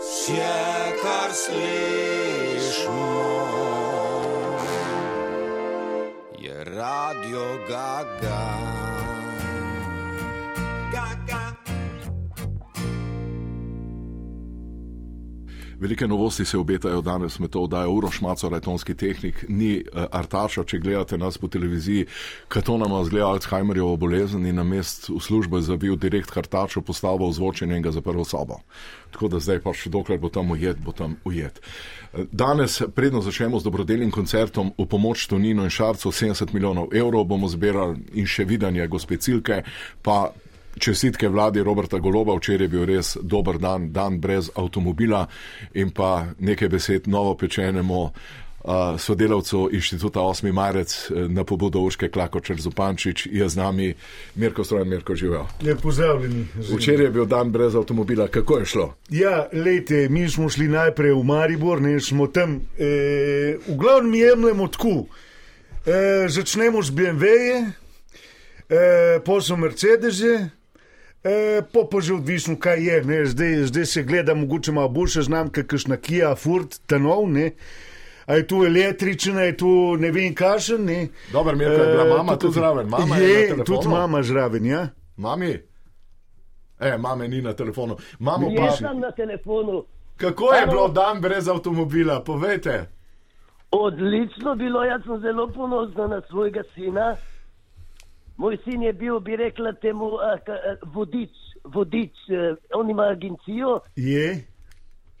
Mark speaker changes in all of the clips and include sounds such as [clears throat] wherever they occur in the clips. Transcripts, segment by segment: Speaker 1: Все, кар слышно, je radio Gaga. Gaga.
Speaker 2: Velike novosti se obetajo danes med to oddajo Uroš Maco, letonski tehnik, ni eh, artaša, če gledate nas po televiziji, katonama zgleda Alzheimerjevo bolezen in na mest v službo je zabil direkt artačo postavo ozvočenja in ga za prvo sobo. Tako da zdaj pač, dokler bo tam ujet, bo tam ujet. Eh, Danes, predno začnemo z dobrodelnim koncertom v pomoč Tonino in Šarcu, 70 milijonov evrov bomo zbirali in še vidanje gospecilke, pa Čestitke vladi Roberta Goloba, včeraj je bil res dober dan, dan brez avtomobila in pa nekaj besed novo pečenemu uh, sodelavcu inštituta 8. marec eh, na pobudo Urške Klakočer Zupančič je z nami Mirko Strojan, Mirko Živel.
Speaker 3: Lep pozdravljeni. Želim.
Speaker 2: Včeraj je bil dan brez avtomobila, kako je šlo?
Speaker 3: Ja, lejte, mi smo šli najprej v Maribor, ne smo tam. E, v glavnem jemljemo tako. E, začnemo z BMW-je, e, pa so Mercedes-je. E, pa pa že odvisno, kaj je. Ne, zdaj, zdaj se gleda, mogoče malo boljše znamke, kakšna Kia, Ford, Tanov. Ne. A je tu električen, a je tu ne vem, kašen. Ne. E,
Speaker 2: Dober, Mirko, je bila mama Eh, tudi zraven, mama je na
Speaker 3: je,
Speaker 2: telefonu?
Speaker 3: tudi mama zraven, ja.
Speaker 2: Mami? E, mame ni na telefonu. Mamo
Speaker 4: Jaz
Speaker 2: pa,
Speaker 4: sem na telefonu.
Speaker 2: kako je
Speaker 4: Alo.
Speaker 2: bilo dan brez avtomobila, povejte.
Speaker 4: Odlično bilo, jaz sem zelo ponosna na svojega sina. Moj sin je bil, bi rekla temu, a, ka- a, vodič, vodič, eh, on ima agencijo
Speaker 3: Je.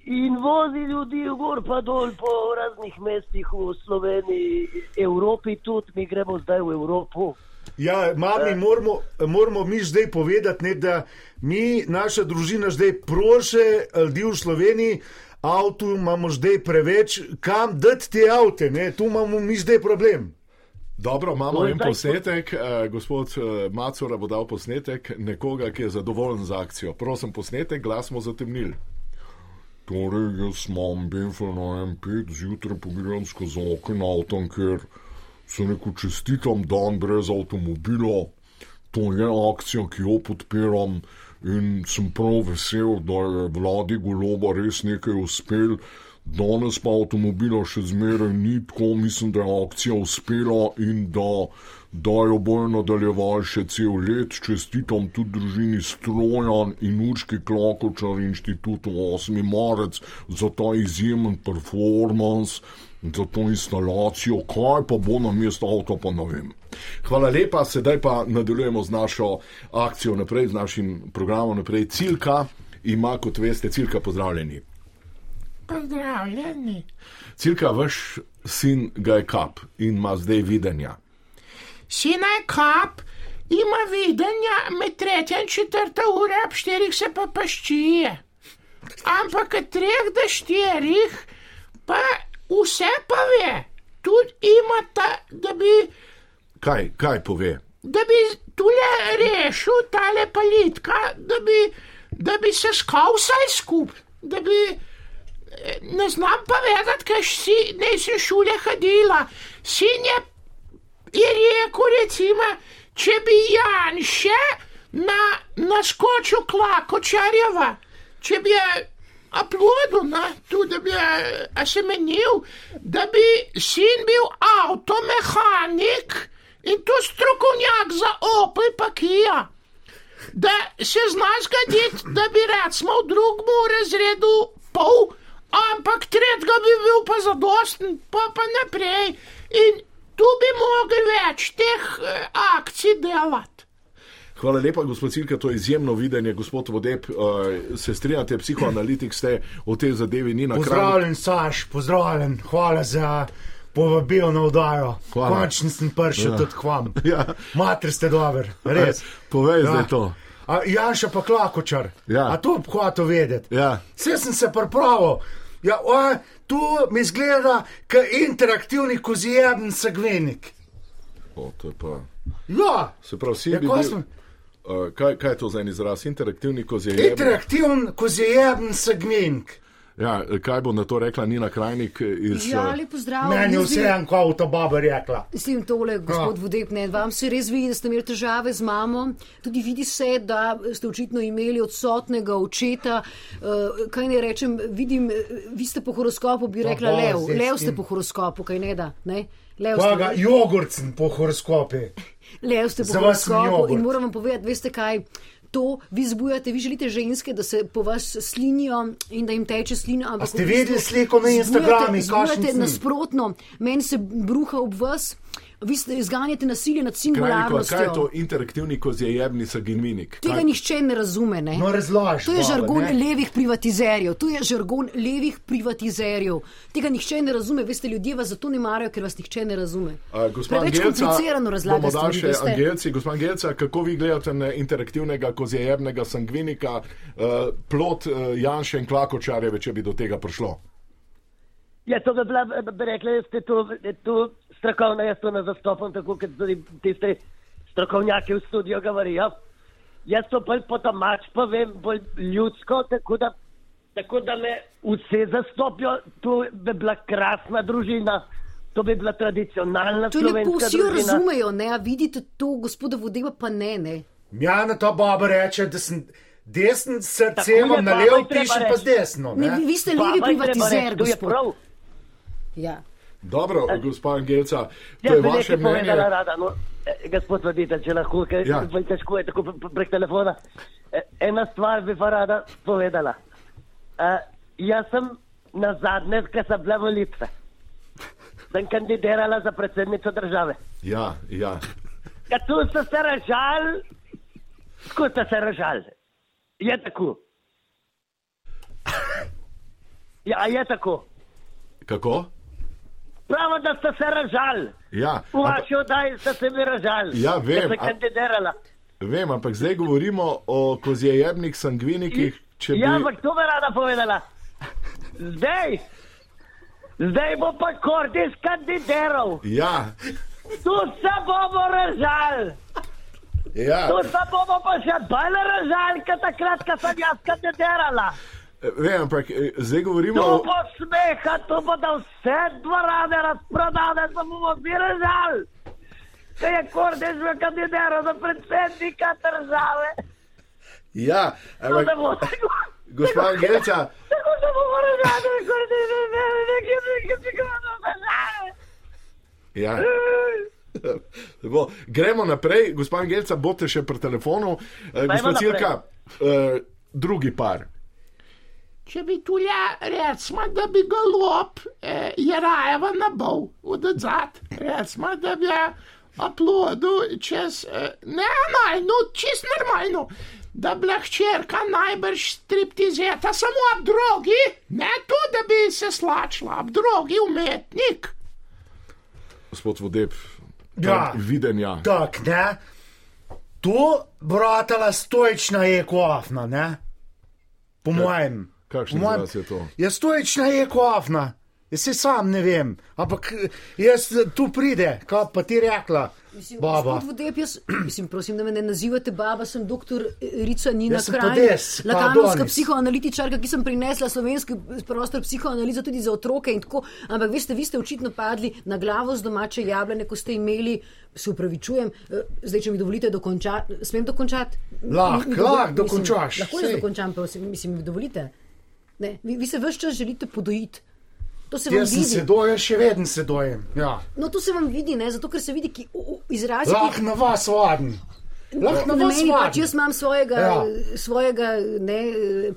Speaker 4: in vozi ljudi gor pa dol po raznih mestih v Sloveniji, Evropi tudi, mi gremo zdaj v Evropo.
Speaker 3: Ja, mami, moramo, moramo mi zdaj povedati, ne, da mi, naša družina, zdaj proše ljudi v Sloveniji, avto imamo zdaj preveč, kam dati te avte, ne, tu imamo mi zdaj problem.
Speaker 2: Dobro, imamo
Speaker 4: To je
Speaker 2: en
Speaker 4: zdaj-
Speaker 2: posnetek. eh, Gospod eh, Macura bo dal posnetek nekoga, ki je zadovoljen z akcijo. Prosim, posnetek, glas smo zatemnili.
Speaker 5: Torej, jaz imam Benfen AM5, zjutraj pogledam skozi okno avtom, ker se neko čestitam dan brez avtomobila. To je akcija, ki jo podpiram in sem prav vesel, da je vladi goloba res nekaj uspel. Danes pa avtomobila še zmeraj ni tako, mislim, da je akcija uspela in da, da jo bojo nadaljevali še cel let. Čestitam tudi družini Strojan in Urški Klokočar inštitutu 8. marec za ta izjemen performance, za to instalacijo, kaj pa bo na mesto avto, pa ne vem.
Speaker 2: Hvala lepa, sedaj pa nadaljujemo z našo akcijo naprej, z našim programom naprej. Cilka ima, kot veste, cilka pozdravljeni.
Speaker 6: Pozdravljeni.
Speaker 2: Cilka, vaš sin ga je kap in ima zdaj videnja.
Speaker 6: Sinaj kap ima videnja med tretjo in četrto uro, ob štirih se pa paščije. Ampak od treh do štirih pa vse pove. Tudi ima ta, da bi,
Speaker 2: Kaj, kaj pove?
Speaker 6: da bi tule rešil tale palitka, da bi, da bi se skal vsaj skup, da bi. eh, Ne znam pa vedeti, kaj si, nisem šule hodila. Sin je je rekel, recimo, če bi Janša na, naskočil Klakočarjeva, če bi je aplodil, na, tu, da bi je a se menil, da bi sin bil avtomehanik in to strokovnjak za Opel pa Kija. Da se zna zgoditi, da bi recimo v drugem razredu pol, ampak tretjega bi bil pa zadosten, pa pa naprej. In tu bi mogli več teh eh, akcij delati.
Speaker 2: Hvala lepa, gospod Cilka, to je izjemno videnje. Gospod Vodeb, eh, se strinjate, psihoanalitik ste o tej zadevi, ni na kraju. [laughs]
Speaker 3: Pozdravljen, Saš, pozdravljen, hvala za povabilo na vdajo.
Speaker 2: Hvala.
Speaker 3: Končno sem prišel ja. tudi k vam.
Speaker 2: Ja.
Speaker 3: Mater ste dober, res.
Speaker 2: Eh,
Speaker 3: Ja.
Speaker 2: Povej zdaj to.
Speaker 3: A, Janša pa klakočar.
Speaker 2: Ja.
Speaker 3: A to bi hotel vedeti.
Speaker 2: Ja.
Speaker 3: Vse sem se pripravil. Ja, o, tu mi zgleda, kot interaktivni kozijeben segvenik.
Speaker 2: O, to je pa.
Speaker 3: Ja,
Speaker 2: Se pravi, Eh, vsi
Speaker 3: Ja,
Speaker 2: bi
Speaker 3: ko
Speaker 2: bili.
Speaker 3: smo-
Speaker 2: Uh, kaj, kaj je to za en izraz? Interaktivni kozijeben.
Speaker 3: interaktivni kozijeben segvenik.
Speaker 2: Ja, kaj bo na to rekla Nina Krajnik iz
Speaker 7: Ja,
Speaker 2: eh,
Speaker 7: ali pozdrav.
Speaker 3: Meni je Ja.
Speaker 7: Jaz bi-
Speaker 3: vse en kot ta baba rekla.
Speaker 7: Mislim tole, gospod Vodek, ne, vam se res vidi, da ste imeli težave z mamo. Tudi vidi se, da ste očitno imeli odsotnega očeta. Eh, Kaj ne rečem, vidim, eh, vi ste po horoskopu, bi rekla
Speaker 3: bo,
Speaker 7: lev.
Speaker 3: zdaj s
Speaker 7: Lev ste
Speaker 3: tem.
Speaker 7: po horoskopu, kaj ne da. Ne?
Speaker 4: Ja,
Speaker 7: Lev,
Speaker 3: Paga,
Speaker 7: ste,
Speaker 3: jogurcen po horoskope.
Speaker 7: lev ste po
Speaker 3: za vas sem
Speaker 7: horoskopu
Speaker 3: jogurt.
Speaker 7: in moram vam povedati, veste kaj. To vi zbujate, vi želite ženske, da se po vas slinijo in da jim teče slina. ampak
Speaker 3: ste
Speaker 7: v bistvu
Speaker 3: videli sliko na Instagramu,
Speaker 7: zbujate- zbujate
Speaker 3: kakšen slin?
Speaker 7: nasprotno, meni se bruha ob vas, vi ste izganjate nasilje nad
Speaker 2: Krajnikova? Kaj je to
Speaker 7: singularnostjo.
Speaker 2: interaktivni kozjejebni saginminik?
Speaker 7: Tega nihče ne razume. Ne?
Speaker 3: No, razloži.
Speaker 7: To je žargon levih privatizerjev, to je žargon levih privatizerjev. Tega nihče ne razume, veste, ljudje vas zato ne marajo, ker vas nihče ne razume. Preveč komplicirano razlagate.
Speaker 2: bomo dali še Angelci. Gospod Angelca, kako vi gledate na interaktivnega kozjejebnega sangvinika, uh, plot uh, Janša in Klakočarjeve, če bi do tega prišlo?
Speaker 4: Ja, to bi bila, bi rekla, jaz te to, to strokovno, jaz to ne zastopam, tako kot tudi tiste strokovnjake v studiu govorijo. Jaz to bolj potomač povem, bolj ljudsko, tako da, tako da me vse zastopijo. To bi bila krasna družina, to bi bila tradicionalna
Speaker 7: To je lepo,
Speaker 4: slovenska
Speaker 7: vsi jo
Speaker 4: družina.
Speaker 7: razumejo, ne? a vidite to, gospoda Vodeva pa ne. ne.
Speaker 3: Mjana ta baba reče, da sem desen
Speaker 4: Tako
Speaker 3: srce,
Speaker 4: je,
Speaker 3: imam na
Speaker 4: baba
Speaker 3: levo,
Speaker 4: je treba
Speaker 3: pišem pa
Speaker 4: reči.
Speaker 3: z desno.
Speaker 7: ne
Speaker 3: Ne?
Speaker 7: vi, vi ste
Speaker 4: Ja. Pa,
Speaker 7: levi
Speaker 4: pa je treba
Speaker 7: privatizer,
Speaker 4: reči, to je
Speaker 7: gospod.
Speaker 4: prav.
Speaker 7: Ja.
Speaker 2: Dobro, gospod Angelca, to
Speaker 4: Jaz
Speaker 2: je
Speaker 4: bi
Speaker 2: vaše
Speaker 4: Ja, nekaj
Speaker 2: mnenje.
Speaker 4: povedala rada. No, eh, gospod Vaditelj, če lahko, ker
Speaker 2: Ja.
Speaker 4: ja. težko je tako pre- pre- prek telefona. Eh, Ena stvar bi pa rada povedala. Uh, jaz sem na zadnje, ker sem bila volitve, sem kandidirala za predsednico države.
Speaker 2: Ja, ja.
Speaker 4: Ja, tu ste se ražali, tako ste se ražali. Je tako. Ja, a je tako.
Speaker 2: Kako?
Speaker 4: Pravo, da ste se ražali.
Speaker 2: Ja,
Speaker 4: V
Speaker 2: ampak-
Speaker 4: vaši oddaji ste se mi ražali.
Speaker 2: Ja, vem,
Speaker 4: Ste se
Speaker 2: a-
Speaker 4: kandidirala.
Speaker 2: Vem, ampak zdaj govorimo o kozjejebnih sangvinikih. Če bi...
Speaker 4: Ja, ampak to bi rada povedala. Zdaj, zdaj bo pa Kordis kandidiral.
Speaker 2: ja,
Speaker 4: Tu se bomo ražali.
Speaker 2: ja.
Speaker 4: Tu se bomo pa še bolj ražali, kot takrat, ko sem jaz kandidirala.
Speaker 2: Vem, ampak eh, zdaj govorimo
Speaker 4: Tu
Speaker 2: o.
Speaker 4: bo smeha, tu bodo vse dvorane razprodane, da bomo mi ražali. Se je Kordis že kandidiral za predsednika države.
Speaker 2: Ja,
Speaker 4: To ne
Speaker 2: ampak,
Speaker 4: bo.
Speaker 2: gospa Angelca,
Speaker 4: Tako da bomo ražali, Kordis že nekaj, nekaj, nekaj, nekaj, nekaj.
Speaker 2: ja. [laughs] Bo, gremo naprej, gospa Angelca, bote še pri telefonu. Eh, Gospa
Speaker 4: naprej.
Speaker 2: Cilka, eh, drugi par.
Speaker 6: Če bi tu le recimo, da bi ga lop, eh, je rajeva nabal, odedzat, recimo, da bi ga aplodil čez, eh, ne analno, čez normalno, da bi lahko črka najbrž striptizeta, samo ob drogi, ne to, da bi se slačila, ob drogi umetnik.
Speaker 2: Gospod Vodeb,
Speaker 3: Ja.
Speaker 2: videnja.
Speaker 3: Tak, ne? To, bratala, stoična je koafna, ne? Po mojem.
Speaker 2: kakšen
Speaker 3: Po mojem-
Speaker 2: izraz je to?
Speaker 3: Ja, stoična je koafna. Jaz se sam ne vem, ampak eh, jaz eh, tu pride, kaj pa ti rekla,
Speaker 7: Mislim,
Speaker 3: baba.
Speaker 7: gospod Vodeb, jaz, [clears throat] mislim, prosim, da me ne nazivate baba, sem doktor Rica Nina
Speaker 3: Jaz sem
Speaker 7: Kraj,
Speaker 3: Podez, pa
Speaker 7: lakanovska
Speaker 3: Adonis.
Speaker 7: psihoanalitičarka, ki sem prinesla slovenski prostor psihoanalizo tudi za otroke in tako, ampak veste, vi ste očitno padli na glavo z domače jablane, ko ste imeli, se upravičujem, eh, zdaj, če mi dovolite dokončati, smem dokončati?
Speaker 3: Lahko,
Speaker 7: Mi- mi dovol-
Speaker 3: lahko dokončaš,
Speaker 7: Mislim, lahko jaz
Speaker 3: sej.
Speaker 7: dokončam, prosim, mislim, mi dovolite. Ne, vi, vi se vse čas želite podojiti. To se vam
Speaker 3: Jaz sem
Speaker 7: vidi.
Speaker 3: sedojen, še vedno sedojen. Ja.
Speaker 7: No, to se vam vidi, ne? zato ker se vidi ki, o, o, izrazi, ki
Speaker 3: Lahko na vas vadim. Lahko na
Speaker 7: Na
Speaker 3: vas
Speaker 7: meni pač
Speaker 3: vadim.
Speaker 7: jaz imam svojega, ja.
Speaker 3: Ja.
Speaker 7: svojega ne,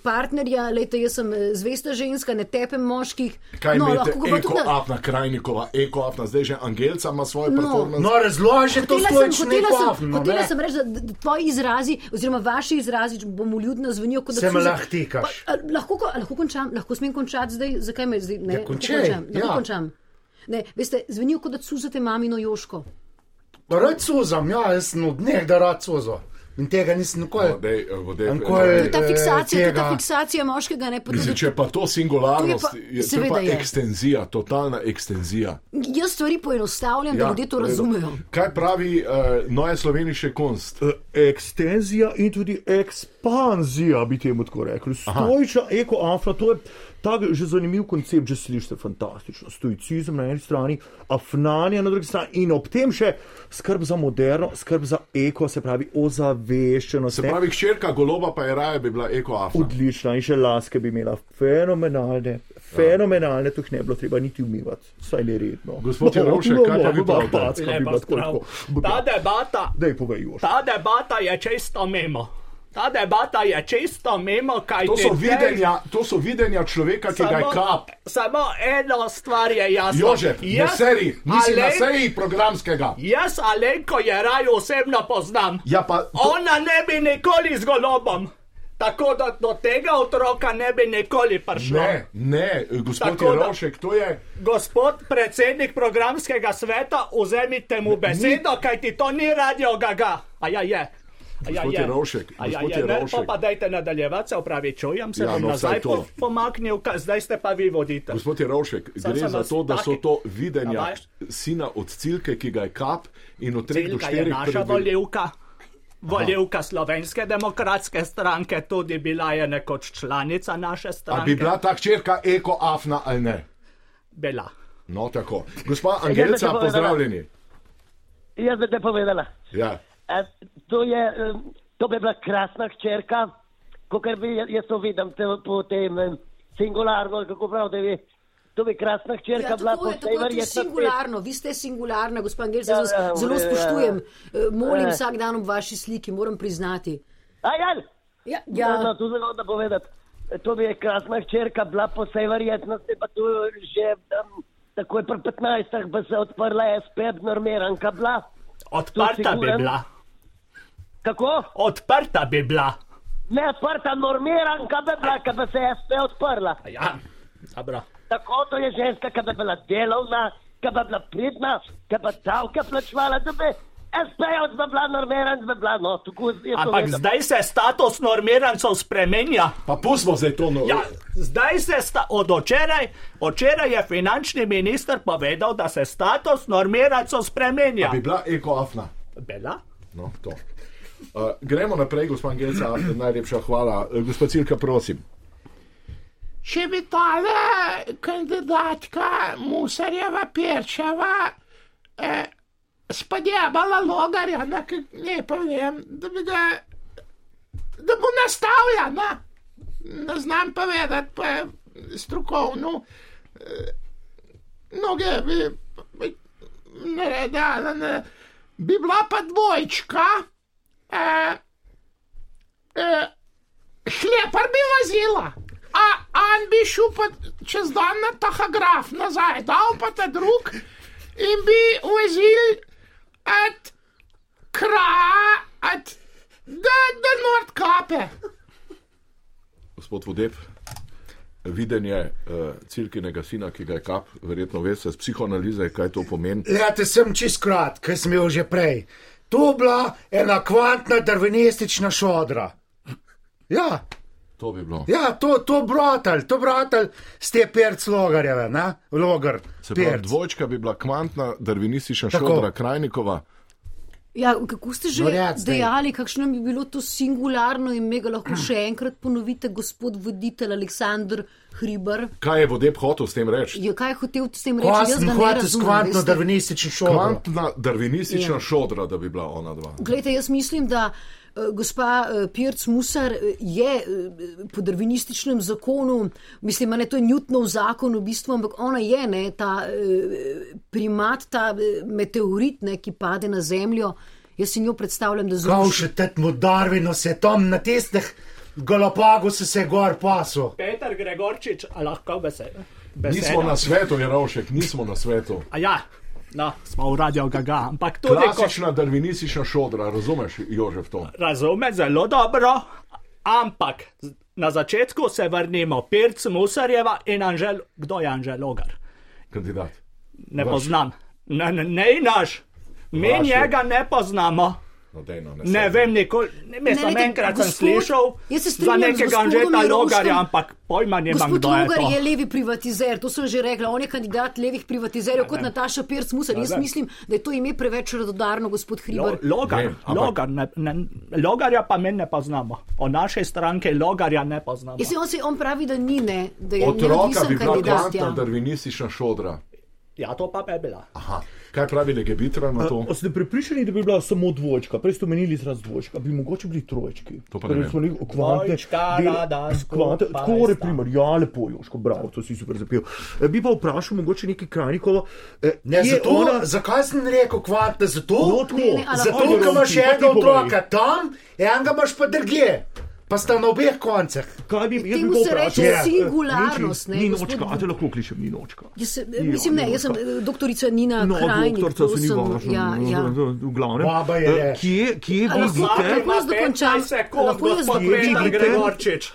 Speaker 7: partnerja, lejte, jaz sem eh, zvesta ženska, ne tepem moških.
Speaker 2: Kaj
Speaker 7: no,
Speaker 2: menite,
Speaker 7: lahko ga pa tudi ne-
Speaker 2: ekoapna, krajnikova, ekoapna, zdaj že Angelca ima svoje
Speaker 7: No.
Speaker 2: performance.
Speaker 3: No, razloži to
Speaker 7: Hotela sem,
Speaker 3: stoično je
Speaker 7: hotela sem,
Speaker 3: koafno.
Speaker 7: hotela sem reči, da- da da tvoji izrazi, oziroma vaši izrazi, če bom uljudna, zvenijo kot da
Speaker 3: Se me
Speaker 7: cuza-
Speaker 3: lahko tikaš.
Speaker 7: Pa, a, lahko, ko- a lahko končam, lahko smem končati zdaj, zakaj me zdaj ne? lahko
Speaker 3: končaj,
Speaker 7: končam, lahko
Speaker 3: ja.
Speaker 7: končam. Ne, veste, zvenijo kot da suzate mamino Joško.
Speaker 3: Rad suzam, ja, jaz sem od nekdaj rad suzam. In tega nisem nikoli.
Speaker 2: Vodej, vodej,
Speaker 3: Anko je-
Speaker 7: To je ta
Speaker 3: Eh,
Speaker 7: fiksacija, to je
Speaker 3: tega.
Speaker 7: ta fiksacija moškega, ne pa tudi
Speaker 2: Mislim, če je pa to singularnost,
Speaker 7: To je pa-
Speaker 2: je to je
Speaker 7: seveda
Speaker 2: pa
Speaker 7: je.
Speaker 2: ekstenzija, totalna ekstenzija.
Speaker 7: Jaz stvari poenostavljam, ja, da ljudje to
Speaker 2: v redu. eh,
Speaker 7: razumejo.
Speaker 2: Kaj pravi uh, Noje Sloveniše konst?
Speaker 8: Ekstenzija in tudi eks ekspanzija, bi temu tako rekli. Stojična ekoafra, to je tak že zanimiv koncept, že slišite fantastično. Stoicizem na eni strani, afnanje na drugi strani in ob tem še skrb za moderno, skrb za eko, se pravi ozaveščenost.
Speaker 2: Se
Speaker 8: ne?
Speaker 2: pravi, širka goloba pa je raje bi bila ekoafna.
Speaker 8: Odlična in še laske bi imela, fenomenalne, fenomenalne, tu jih ne bi bilo treba niti umivati, saj ne redno.
Speaker 2: Gospod Jerovšek, kaj pa vi pravite?
Speaker 8: packa
Speaker 9: Lepo
Speaker 8: bi bila tako.
Speaker 9: zdrav.
Speaker 8: tako.
Speaker 9: Ta debata,
Speaker 8: Daj povej, Jož.
Speaker 9: ta debata je čisto mimo. Ta debata je čisto mimo, kaj
Speaker 2: To so,
Speaker 9: ti zdaj-
Speaker 2: videnja, to so videnja človeka, ki ga je kap.
Speaker 9: samo ena stvar je jasna.
Speaker 2: Jožef, ne seri, nisi na
Speaker 9: Alen-
Speaker 2: seji programskega.
Speaker 9: Jaz Alenko Jeraj osebno poznam.
Speaker 2: Ja, pa to,
Speaker 9: Ona ne bi nikoli z golobom. Tako da do tega otroka ne bi nikoli prišlo.
Speaker 2: ne, ne, gospod
Speaker 9: Tako da-
Speaker 2: Jerovšek, to je.
Speaker 9: Gospod predsednik programskega sveta, vzemite mu besedo, kajti to ni radio gaga. A ja je. A ja
Speaker 2: Gospod
Speaker 9: je.
Speaker 2: Jerovšek,
Speaker 9: A ja
Speaker 2: gospod
Speaker 9: je. Ne,
Speaker 2: Jerovšek.
Speaker 9: pa pa dajte nadaljevati, se opravičujem, se
Speaker 2: Ja,
Speaker 9: ja, bom
Speaker 2: no,
Speaker 9: no, nazaj
Speaker 2: vsaj to.
Speaker 9: po, pomaknil, ka- zdaj ste pa vi voditelj.
Speaker 2: Gospod Jerovšek,
Speaker 9: Sam
Speaker 2: gre
Speaker 9: sem
Speaker 2: za
Speaker 9: vas
Speaker 2: to, da so
Speaker 9: taki-
Speaker 2: to videnja
Speaker 9: Ampak-
Speaker 2: sina od cilke, ki ga je kap in od 3 do
Speaker 9: Celka je
Speaker 2: 4
Speaker 9: naša volivka. Volivka slovenske demokratske stranke, tudi bila je nekoč članica naše
Speaker 2: A
Speaker 9: stranke.
Speaker 2: bi bila ta črka ekoafna ali ne?
Speaker 9: Bila.
Speaker 2: No, tako. Gospa
Speaker 4: Jaz sem
Speaker 2: Angelica,
Speaker 4: se povedala.
Speaker 2: pozdravljeni.
Speaker 4: Jaz bi te povedala.
Speaker 2: Ja.
Speaker 4: E, to, je, em, to bi bila krasna hčerka, kot bi jaz to vidim te, po tem em, singularno, ali kako pravite vi. To bi krasna hčerka
Speaker 7: Ja,
Speaker 4: bila
Speaker 7: tako
Speaker 4: po tej
Speaker 7: je, tako je to je
Speaker 4: verjetnosti.
Speaker 7: singularno, vi ste singularna, gospod Angel,
Speaker 4: Ja,
Speaker 7: zelo,
Speaker 4: ja,
Speaker 7: zelo
Speaker 4: v redu, ja, ja.
Speaker 7: spoštujem, eh, molim
Speaker 4: Eh.
Speaker 7: vsak dan ob vaši sliki, moram priznati.
Speaker 4: Ajaj!
Speaker 7: Ja,
Speaker 4: Ja, no,
Speaker 7: ja.
Speaker 4: to zelo da povedati. E, To bi je krasna hčerka bila po vsej verjetnosti, pa tu že um, takoj pri 15. bi se odprla SPEB normiranka bila.
Speaker 9: Odprta bi
Speaker 4: siguren?
Speaker 9: bila.
Speaker 4: Kako?
Speaker 9: Odprta bi bila.
Speaker 4: Ne odprta normiranka bi bila, ki bi se SPEB odprla.
Speaker 9: A Ja, dobro.
Speaker 4: Tako to je ženska, ki bi bila delovna, ki bi bila pridna, ki bi davke plačevala, da bi SPEB bi bila normiran, bi bila no, tako je to.
Speaker 9: Ampak
Speaker 4: vedno.
Speaker 9: zdaj se status normirancev spremenja.
Speaker 2: Pa pustimo zdaj to. No,
Speaker 9: Ja, zdaj se sta, od včeraj, včeraj je finančni minister povedal, da se status normirancev spremenja.
Speaker 2: Bi bila ekoafna.
Speaker 9: Bila?
Speaker 2: No, to. Uh, gremo naprej, gospod Angelica, najlepša hvala. Eh, Gospod Cilka, prosim.
Speaker 6: Če bi tale kandidatka Musarjeva Pirčeva eh, spodjebala logarja, na, ne povem, da bi ga, da bo nastavlja, na, ne znam povedati, pa je strokovno, eh, noge bi, bi naredila, ne, bi bila pa dvojčka, eh, eh, Šlepar bi vozila, a on bi šel pa čez dan na tahograf nazaj, dal pa ta drug in bi vozil od kraja, od do, do Nordkape.
Speaker 2: Gospod Vodeb, videnje uh, Cilkinega sina, ki ga je kap, verjetno veste z psihoanalize, kaj to pomeni.
Speaker 3: Lete sem čist krat, ker sem jo že prej. To bila ena kvantna darvinistična šodra. Ja,
Speaker 2: To bi bilo.
Speaker 3: ja to, to bratelj, to bratelj ste perc logarjeve, ne? Logar.
Speaker 2: Se pravi,
Speaker 3: Perc.
Speaker 2: dvojčka bi bila kvantna, darvinistična
Speaker 3: Tako.
Speaker 2: šodra Krajnikova.
Speaker 7: Ja, kako ste že
Speaker 3: Norjac, ne.
Speaker 7: dejali, kakšno bi bilo to singularno ime, ga lahko še enkrat ponovite, gospod voditelj Aleksandr Hribar.
Speaker 2: Kaj je Vodeb hotel s tem reči?
Speaker 7: Je kaj je hotel s tem
Speaker 3: Ko
Speaker 7: Ja, reči? Jaz
Speaker 3: sem
Speaker 7: ga ne
Speaker 3: hotel s kvantno
Speaker 7: razumem.
Speaker 3: darvinistično šodro.
Speaker 2: Kvantna, darvinistična ja. šodra, da bi bila ona dva.
Speaker 7: Glejte, jaz mislim, da eh, gospa eh, Pirc Musar eh, je eh, po darvinističnem zakonu, mislim, a ne to je Newtonov zakon v bistvu, ampak ona je ne, ta eh, primat, ta eh, meteorit, ne, ki pade na zemljo. Jaz si njo predstavljam, da zelo
Speaker 3: Kao še tetmo Darvino se tam na testih Galapagu se se gor paso.
Speaker 9: Peter Gregorčič, a lahko beseda.
Speaker 2: Nismo na svetu, je Rovšek, nismo na svetu.
Speaker 9: A ja, no, smo v radio gaga, ampak tudi ko
Speaker 2: Klasična darvinistična šodra, razumeš, Jožef to?
Speaker 9: razume zelo dobro, ampak z- na začetku se vrnimo. Pirc Musarjeva in Anžel, kdo je Anžel Logar?
Speaker 2: Kandidat.
Speaker 9: Ne poznam, ne, ne, ne naš, mi
Speaker 2: Vaš je.
Speaker 9: njega ne poznamo.
Speaker 2: No, dejno,
Speaker 10: Ne vem, nikoli, ne, mislim,
Speaker 7: lejte,
Speaker 10: enkrat sem
Speaker 7: gospod-
Speaker 10: slišal
Speaker 7: jaz se
Speaker 10: za
Speaker 7: strinjam z
Speaker 10: nekega
Speaker 7: gospodom
Speaker 10: Anžeta
Speaker 7: Mirovskim.
Speaker 10: Logarja, ampak pojma nimam,
Speaker 7: Gospod
Speaker 10: kdo je
Speaker 7: Logar
Speaker 10: to.
Speaker 7: je levi privatizer, to sem že rekla, on je kandidat levih privatizerjev kot Nataša Pirc Musar. Jaz
Speaker 10: vem.
Speaker 7: mislim, da je to ime preveč radodarno, gospod Hribar.
Speaker 10: Lo- Logar,
Speaker 2: Ne,
Speaker 10: ne,
Speaker 2: ampak-
Speaker 10: logar ne, ne, logarja pa meni ne poznamo. O naše stranke Logarja ne poznamo.
Speaker 7: Jaz se on, se, on pravi, da ni, ne, da je
Speaker 2: Otroka bi
Speaker 7: neodvisen
Speaker 2: bila
Speaker 7: kandidat.
Speaker 2: kvantna
Speaker 7: Ja.
Speaker 2: darvinistična šodra.
Speaker 10: Ja, to pa je bila.
Speaker 2: Aha. Kaj pravi Legebitra na to?
Speaker 8: A ste pripričani, da bi bila samo dvojčka? Prej ste omenili izraz dvočka, bi mogoče bili trojčki.
Speaker 2: To pa ne vem.
Speaker 8: Torej, kvante,
Speaker 10: Dvojčka
Speaker 8: del-
Speaker 10: rada
Speaker 8: kvante,
Speaker 10: skupaj
Speaker 8: tako
Speaker 10: sta.
Speaker 8: reprimer, ja, lepo, Joško, bravo, to si super zapel. E, Bi pa vprašal mogoče nekaj Krajnikovo. e,
Speaker 9: Ne,
Speaker 8: je
Speaker 9: zato,
Speaker 8: ona-
Speaker 9: ona... Zakaj sem rekel kvantno? Zato,
Speaker 8: No, tako. Ne,
Speaker 7: ne, a
Speaker 9: zato
Speaker 7: lahko
Speaker 9: ker imaš
Speaker 8: ti, pa ti
Speaker 9: enega
Speaker 8: povej.
Speaker 9: otroka tam, enega imaš pa drugje, pa sta na obeh koncih. Ja.
Speaker 8: Kaj bi, jaz bi
Speaker 7: Temu
Speaker 8: pa
Speaker 7: se
Speaker 8: vprašal,
Speaker 7: reče
Speaker 8: e,
Speaker 7: singularnost,
Speaker 8: Ninči,
Speaker 7: ne,
Speaker 8: Ninočka,
Speaker 7: gospod-
Speaker 8: a te lahko kličem Ninočka.
Speaker 7: Jaz se,
Speaker 8: Ja,
Speaker 7: mislim, ne, jaz sem
Speaker 8: Ninočka.
Speaker 7: eh, doktorica Nina
Speaker 8: No,
Speaker 7: Krajnik.
Speaker 8: doktorica
Speaker 7: to
Speaker 8: se ni
Speaker 7: sem-
Speaker 8: važno, no,
Speaker 7: ja, ja.
Speaker 8: v glavnem.
Speaker 9: Baba je
Speaker 8: E,
Speaker 9: je.
Speaker 8: Kje, kje
Speaker 7: A lahko-
Speaker 10: eh?
Speaker 8: vidite?
Speaker 7: lahko jaz dokončam? Lahko jaz
Speaker 10: gospod
Speaker 7: dokončam?
Speaker 10: Peter
Speaker 8: Vidite?
Speaker 10: Gregorčič.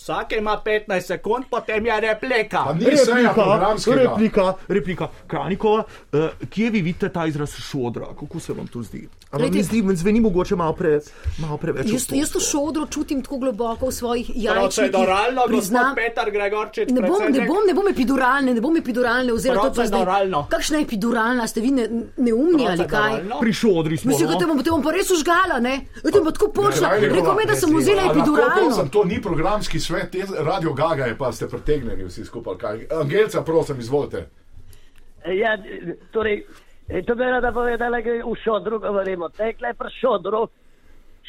Speaker 10: Vsak ima 15 sekund, potem je replika.
Speaker 2: Pa ni seja
Speaker 8: Replika,
Speaker 2: programskega.
Speaker 8: replika, replika. Kranikova, uh, kje vi vidite ta izraz šodra, kako se vam to zdi? Ampak
Speaker 7: Glejte-
Speaker 8: mi zdi, meni zveni mogoče malo, pre, malo preveč.
Speaker 7: Jaz, jaz to
Speaker 8: otroštvo.
Speaker 7: šodro čutim tako globoko v svojih jajčih.
Speaker 10: Proceduralno,
Speaker 7: Priznam,
Speaker 10: gospod Peter Gregorčič.
Speaker 7: Ne bom, ne
Speaker 10: predsednik.
Speaker 7: bom, ne bom epiduralne, ne bom epiduralne oziroma to pa zdaj.
Speaker 10: Proceduralno.
Speaker 7: Kakšna epiduralna, ste vi ne, neumni ali kaj?
Speaker 10: Proceduralno.
Speaker 8: Pri šodri smo.
Speaker 7: Mislim, da te
Speaker 8: no.
Speaker 7: bom, te bom pa res užgala, ne? Da te bom tako počela.
Speaker 2: Ne, ne, ne,
Speaker 7: Rekel mi, je, da sem vzela epiduralno.
Speaker 2: Prosim, to ni programski svet, te- radio Gaga je pa ste pretegnjeni vsi skupaj. kaj. Angelca, prosim, izvolite.
Speaker 4: Ja, torej, eh, to bi rada povedala, da v šodru govorimo. Tekle pri šodru,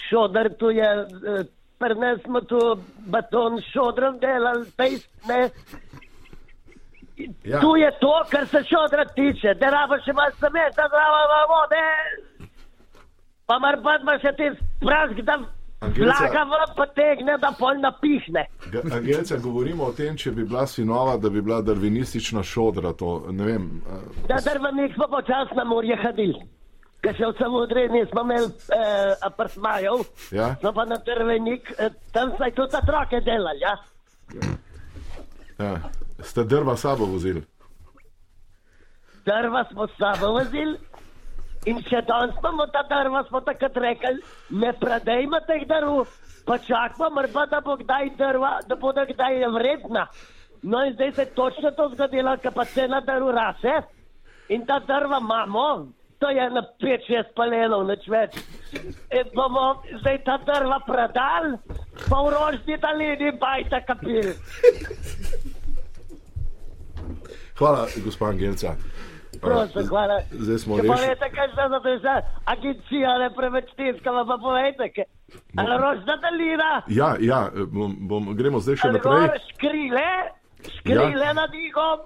Speaker 4: šodr tu je, eh, pri nas smo tu baton s šodrom delali, pejst ne.
Speaker 2: Ja.
Speaker 4: Ja. Tu je to, kar se šodra tiče, da rabo še imaš semesta, zdrava ima vode. Pa mar pa imaš še ti prask, da
Speaker 2: Angelica.
Speaker 4: vlaga v potegne, da pol napihne.
Speaker 2: Ga- Angelca, govorimo o tem, če bi bila sinova, da bi bila darvinistična šodra. To, ne vem, eh,
Speaker 4: Da drvenik smo počasno na morje hodili. Ker še v Samudri nismo imeli eh, apartmajev,
Speaker 2: Ja.
Speaker 4: smo pa na drvenik, eh, tam smo tudi otroke delali. Ja?
Speaker 2: eh, ste drva sabo vozili.
Speaker 4: Drva smo s sabo vozili in še danes imamo ta drva, smo takrat rekli, ne predajmo teh drv, pa čakamo, morda da bo kdaj drva, da bodo kdaj vredna. No in zdaj se je točno to zgodilo, ker pa cena drv rase in ta drva imamo, to je na 5-6 palenov, nič več. In bomo zdaj ta drva prodali, pa v rožni dalini bajta kapil.
Speaker 2: Hvala, gospod Angelca.
Speaker 4: Prosim,
Speaker 2: Eh,
Speaker 4: hvala.
Speaker 2: Zdaj smo
Speaker 4: Če
Speaker 2: rešili.
Speaker 4: povete, kaj se zapiše, agencija ne preveč tiskava, pa povejte, kaj. ali rožna dalina,
Speaker 2: Ja, ja eh, bom, bom, gremo No. zdaj še
Speaker 4: ali gor
Speaker 2: naprej.
Speaker 4: škrile, škrile ja. nad igom,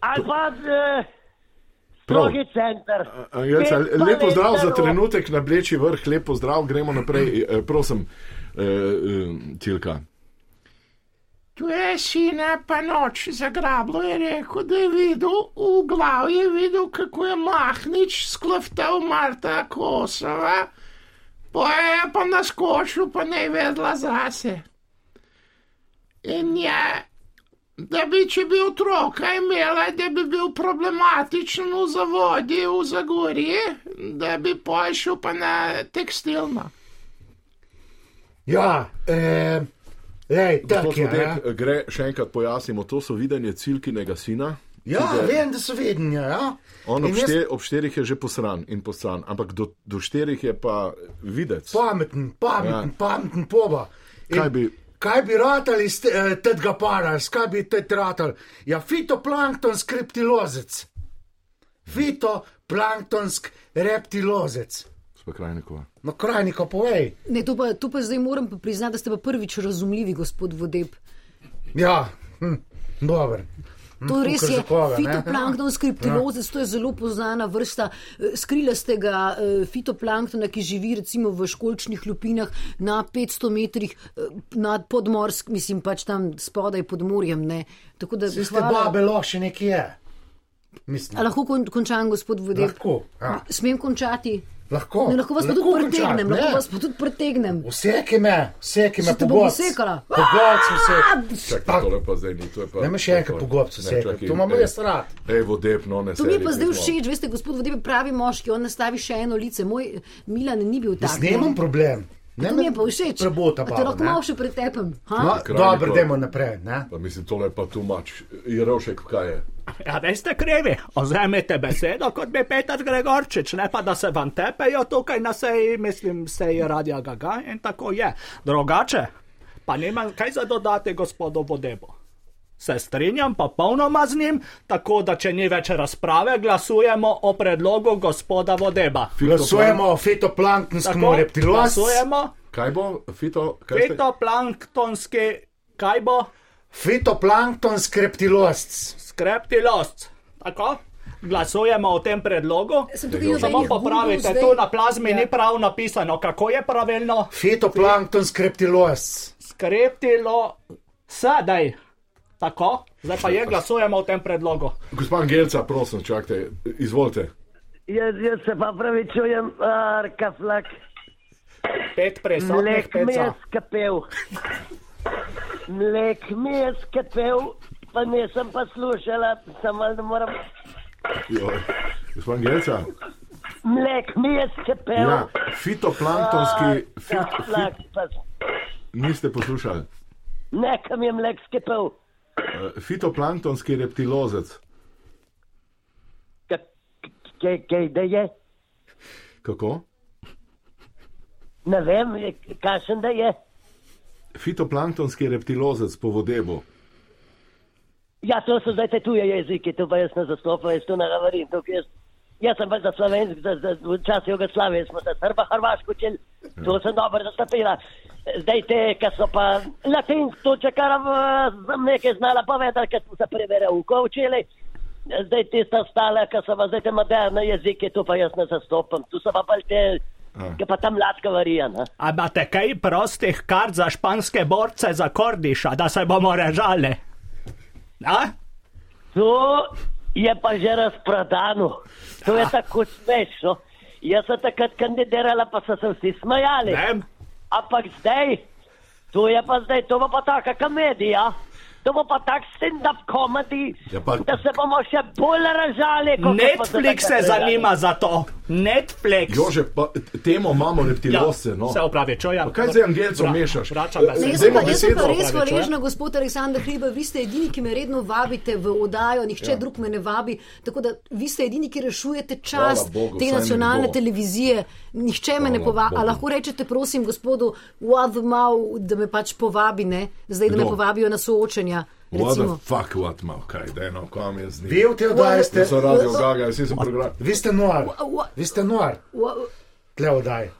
Speaker 4: ali pa eh, strogi center.
Speaker 2: Angelca,
Speaker 4: Pet pa
Speaker 2: lepo zdrav za
Speaker 4: lentero.
Speaker 2: trenutek na bleči vrh, lepo zdrav, gremo naprej. Eh, Prosim, eh, eh, Tilka.
Speaker 6: Tu je sina pa noč zagrablo je rekel, da je videl, v glavi je videl, kako je Mahnič skloftal Marta Kosova, pa je pa naskočil, pa ne je vedela zase. In je, da bi če bi otroka imela, da bi bil problematičen v zavodi v Zagorje, da bi pošel pa na tekstilno.
Speaker 9: Ja, eh, lej,
Speaker 2: Gospod
Speaker 9: tak je.
Speaker 2: Vodek,
Speaker 9: ja.
Speaker 2: Gre še enkrat pojasnimo, to so videnje Cilkinega sina.
Speaker 9: Ja,
Speaker 2: ki ga-
Speaker 9: vem, da so vedenja. Ja.
Speaker 2: On
Speaker 9: In
Speaker 2: ob,
Speaker 9: jaz-
Speaker 2: šte, ob štirih je že posran in posran, ampak do, do štirih je pa videc.
Speaker 9: Pameten, pameten,
Speaker 2: Ja.
Speaker 9: ja. pameten poba. In
Speaker 2: Kaj bi-
Speaker 9: Kaj bi ratali iz te- eh, tega para, skaj bi te ratali? Ja, fitoplankton skriptilozec. Fitoplanktonsk reptilozec.
Speaker 2: Sva Krajnikova.
Speaker 9: No, krajniko povej.
Speaker 7: Ne, to pa, to pa zdaj moram pa priznati, da ste pa prvič razumljivi, gospod Vodeb.
Speaker 9: Ja, hm, dobro.
Speaker 3: Hm,
Speaker 7: To res
Speaker 9: kakor
Speaker 7: je
Speaker 9: za koga, ne? Ja.
Speaker 7: fitoplankton,
Speaker 3: Ja.
Speaker 7: skriptilozec, to je zelo poznana vrsta eh, skrilastega eh, fitoplanktona, ki živi recimo v školčnih lupinah na 500 metrih eh, nad podmorsk, mislim pač tam spodaj pod morjem. Ne. Tako da
Speaker 9: Tiste babe loše nekje je.
Speaker 3: Mislim,
Speaker 7: A lahko kon, končam, gospod Vodej?
Speaker 3: lahko. A,
Speaker 7: Smem končati?
Speaker 3: lahko.
Speaker 7: Ne, lahko vas pa tudi pretegnem, lahko vas pa tudi pretegnem.
Speaker 3: Vse, ki me, vse, ki me
Speaker 7: Se te bom
Speaker 3: pogodc.
Speaker 7: usekala.
Speaker 3: Pogodc sem se.
Speaker 7: Ah,
Speaker 2: Čakaj, tole pa zdaj ni, to je pa.
Speaker 3: Ne me še enkrat pogodc sem se. To imam jaz rad.
Speaker 2: Ej, vodep, no, ne
Speaker 7: To mi je
Speaker 2: sedi,
Speaker 7: pa zdaj
Speaker 2: pizdo.
Speaker 7: všeč, veste, gospod Vodej je pravi moški, on nastavi še eno lice. Moj Milan ni bil tak.
Speaker 3: Jaz
Speaker 9: No,
Speaker 3: nemam problem.
Speaker 7: To
Speaker 3: Ne
Speaker 7: mi je pa všeč.
Speaker 3: Prebota
Speaker 7: A
Speaker 3: pa.
Speaker 7: Te lahko malo še pretepem. ha?
Speaker 3: No,
Speaker 2: Kralj
Speaker 3: dobro,
Speaker 2: Nikolaj.
Speaker 3: dajmo naprej. Ne?
Speaker 2: Pa mislim, tole je pa tu mač. Jerovšek, kaj je?
Speaker 9: Ja, veste, krivi, ozemite besedo kot bi Peter Gregorčič, ne pa da se vam tepejo tukaj na seji, mislim, seji Radia Gaga in tako je. Drugače, pa nimam kaj za dodati gospodu Bodebo. Se strinjam pa polnoma z njim, tako da če ni več razprave, glasujemo o predlogu gospoda Vodeba.
Speaker 3: Glasujemo o fitoplanktonskemu
Speaker 9: Tako,
Speaker 3: reptilosu.
Speaker 9: glasujemo,
Speaker 2: Kaj bo, fito? Kaj ste-
Speaker 9: fitoplanktonski, kaj bo,
Speaker 3: Fitoplanktonski reptilos.
Speaker 9: skreptilost. Tako, glasujemo o tem predlogu.
Speaker 7: Sem tukaj nobenih
Speaker 9: Samo
Speaker 7: Google
Speaker 9: popravite,
Speaker 7: zdaj.
Speaker 9: tu na plazmi
Speaker 7: Ja.
Speaker 9: ja. ni prav napisano, kako je pravilno
Speaker 3: Fitoplanktonski reptilos.
Speaker 9: skreptilo sedaj. Tako, zdaj pa je glasujemo o tem predlogu.
Speaker 2: Gospa Gelca, prosim, čakajte, izvolite.
Speaker 4: Jaz, jaz se pa pravi čujem, arka flak,
Speaker 9: Pet prisotnih,
Speaker 4: mlek
Speaker 9: pet
Speaker 4: mi je
Speaker 9: za.
Speaker 4: skapel. Mlek mi je skapel, pa nisem poslušala, samo ne moram.
Speaker 2: Joj. Gospa Gelca,
Speaker 4: Mlek mi je skapel.
Speaker 2: ja, fitoplanktonski, fit,
Speaker 4: Arka flak,
Speaker 2: fit,
Speaker 4: pa
Speaker 2: niste poslušali.
Speaker 4: nekam je mlek skapel.
Speaker 2: Eh, Fitoplanktonski reptilozec,
Speaker 4: Ka- Kaj, kaj da je?
Speaker 2: kako?
Speaker 4: Ne vem, kakšen da je.
Speaker 2: Fitoplanktonski reptilozec po vodebu.
Speaker 4: Ja, to so zdaj te tuje jezike, to pa jaz ne zastopam, jaz to ne govorim. Tukaj Jaz, jaz sem pač za slovensk, za, za, v času Jugoslavije smo za srba hrvaško učili, to sem dobro zastopila. Zdaj te, ki so pa latinsko, če kar eh, sem nekaj znala povedati, ker smo se prevere uko učili. Zdaj tiste ostale, ki so pa zdaj te moderne jezike, to pa jaz ne zastopam. Tu so pa bolj te, ki pa tam mladka varija. Ne?
Speaker 9: A imate kaj prostih kart za španske borce, za Kordiša, da se bomo režali? A?
Speaker 4: To je pa že razprodano, to
Speaker 2: Ah.
Speaker 4: je tako smešno. Jaz sem takrat kandidirala, pa so se vsi smejali.
Speaker 9: Vem.
Speaker 4: Ampak zdaj, to je pa zdaj, to bo pa taka komedija. To bo pa tak stand-up komedij,
Speaker 2: Ja, pa-
Speaker 4: da se bomo še bolj ražali.
Speaker 9: Netflix se zanima za to. Netflix. Ja,
Speaker 2: Jože, pa temo imamo reptilozce, no.
Speaker 9: Se opravičujem.
Speaker 2: Pa kaj zdaj Angelco mešaš?
Speaker 9: Vračam ga
Speaker 7: Ne,
Speaker 9: se.
Speaker 7: jaz sem
Speaker 2: Dajmo
Speaker 7: pa, jaz sem pa
Speaker 2: besedo. ja.
Speaker 7: res
Speaker 9: Pravi, če
Speaker 7: hvaležna, gospod Aleksandr Hriba, vi ste edini, ki me redno vabite v oddajo, nihče ja. drug me ne vabi. Tako da vi ste edini, ki rešujete čast
Speaker 2: Hvala Bogu,
Speaker 7: te
Speaker 2: vsaj mi
Speaker 7: nacionalne
Speaker 2: bo.
Speaker 7: televizije. Nihče me ne
Speaker 2: Hvala
Speaker 7: povabi.
Speaker 2: Bogu.
Speaker 7: A lahko rečete, prosim, gospodu Wadmau, da me pač povabi, ne? zdaj, da me
Speaker 2: Kdo?
Speaker 7: povabijo na soočenja.
Speaker 2: What the
Speaker 7: Recimo.
Speaker 2: fuck, what mal, kaj, da eno, kam je z njim.
Speaker 3: Vi v te oddaje ste,
Speaker 2: Za radio Gaga, jaz nisem program.
Speaker 3: vi ste noar,
Speaker 7: what-
Speaker 3: vi ste noar,
Speaker 7: Wa-
Speaker 3: tle oddaje.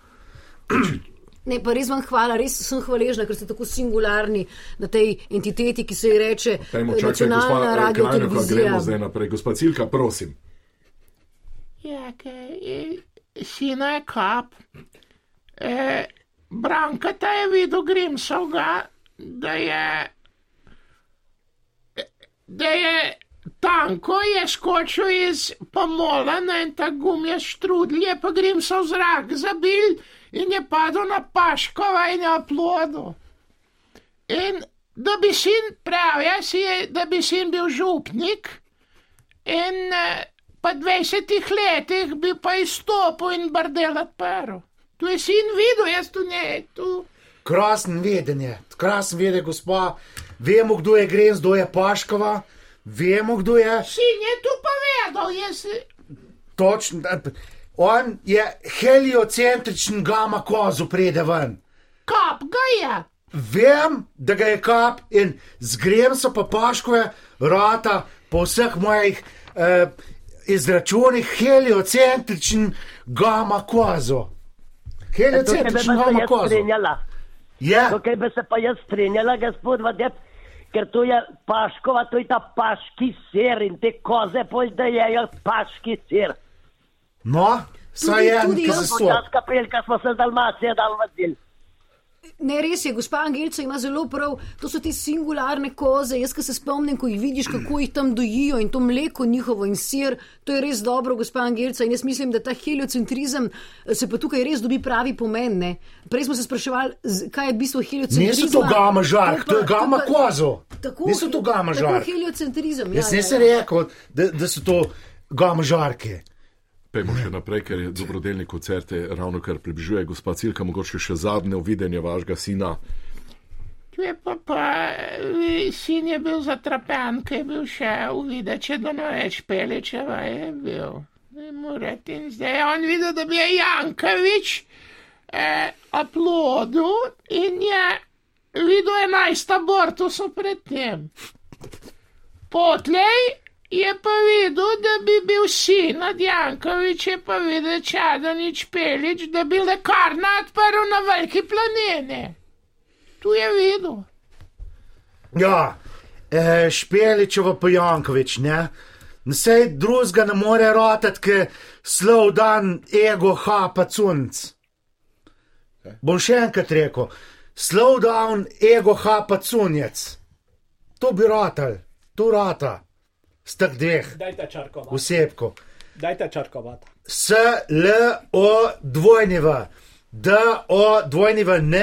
Speaker 7: Ne, pa res vam hvala, res sem hvaležna, ker ste tako singularni na tej entiteti, ki se ji reče
Speaker 2: Dajmo
Speaker 7: eh,
Speaker 2: čakati,
Speaker 7: nacionalna
Speaker 2: gospa
Speaker 7: radio
Speaker 2: Krajnjaka, gremo
Speaker 7: televizija.
Speaker 2: zdaj naprej. Gospa Cilka, prosim.
Speaker 6: Ja, kaj, sina je kap. E, Branka ta je videl Grimsovga, da je, da je tanko je skočil iz pomola na en ta gumija štrudl, je pa Grimsov zrak zabil in je padel na Paškova in je oplodil. In da bi sin, prav, jaz je, da bi sin bil župnik. In eh, po 20 letih bi pa izstopil in brdel odprl. Tu je sin videl, jaz tu ne, tu.
Speaker 3: Krasen vedenje, krasen vedenje, gospa. Vemo, kdo je Grens, kdo je Paškova, vemo, kdo je.
Speaker 6: Sin je tu povedal, jaz.
Speaker 3: Točno, da- eh, on je heliocentričen gama kozu prede ven.
Speaker 6: Kap ga je.
Speaker 3: Vem, da ga je kap in zgrem so pa paškove rata po vseh mojih eh, izračunih heliocentričen gama kozo.
Speaker 4: Tukaj E, bi se
Speaker 3: Heliocentričen
Speaker 4: pa
Speaker 3: gama
Speaker 4: jaz
Speaker 3: kozo.
Speaker 4: strinjala.
Speaker 2: Ja.
Speaker 3: Je,
Speaker 4: Tukaj bi se pa jaz strinjala, gospod Vadep, ker to je paškova, to je ta paški sir in te koze pol da jejo paški sir.
Speaker 3: no, saj je,
Speaker 7: tudi
Speaker 3: ki
Speaker 7: jaz
Speaker 3: se
Speaker 7: bom
Speaker 3: so.
Speaker 4: Počas kapelka smo se z Dalmacije dal vadil.
Speaker 7: Ne, res je, gospa Angelica ima zelo prav. To so te singularne koze. Jaz, ki se spomnim, ko jih vidiš, kako jih tam dojijo in to mleko njihovo in sir, to je res dobro, gospa Angelica. In jaz mislim, da ta heliocentrizem eh, se pa tukaj res dobi pravi pomen. Ne? Prej smo se spraševali, z- kaj je bistvo heliocentrizma.
Speaker 3: Niso to gama žark, to je gama kozo.
Speaker 7: Tako,
Speaker 3: Niso to gama
Speaker 7: Tako
Speaker 3: žark.
Speaker 7: heliocentrizem. ja,
Speaker 3: Jaz nisem rekel, da, da so to gama žarke.
Speaker 2: Pejmo še naprej, ker je dobrodelni koncert je ravno kar približuje. Gospa Cilka, mogoče še zadnje videnje vašega sina.
Speaker 6: Je pa, pa eh, sin je bil zatrapan, ki je bil še uvidel, če do noč peličeva je bil. Ne morete. In zdaj je on videl, da bi je Jankovič eh, aplodil in je videl 11 abortusov pred tem. Potlej je pa videl, da bi bil sin od Jankoviča, je pa videl Čadonič Pelič, da bi lekarna odprl na veliki planini. Tu je videl.
Speaker 3: Ja, e, Špeličeva pa Jankovič, ne. Vsej drugega ne more rotati, ker slov dan ego hapa cunc. Bom še enkrat rekel, slov dan ego hapa cunjec. To bi rotal, to rata, z teh dveh
Speaker 9: Dajte črkovati.
Speaker 3: osebkov.
Speaker 9: Dajte črkovati.
Speaker 3: S, L, O, dvojneva, D, O, dvojneva, N,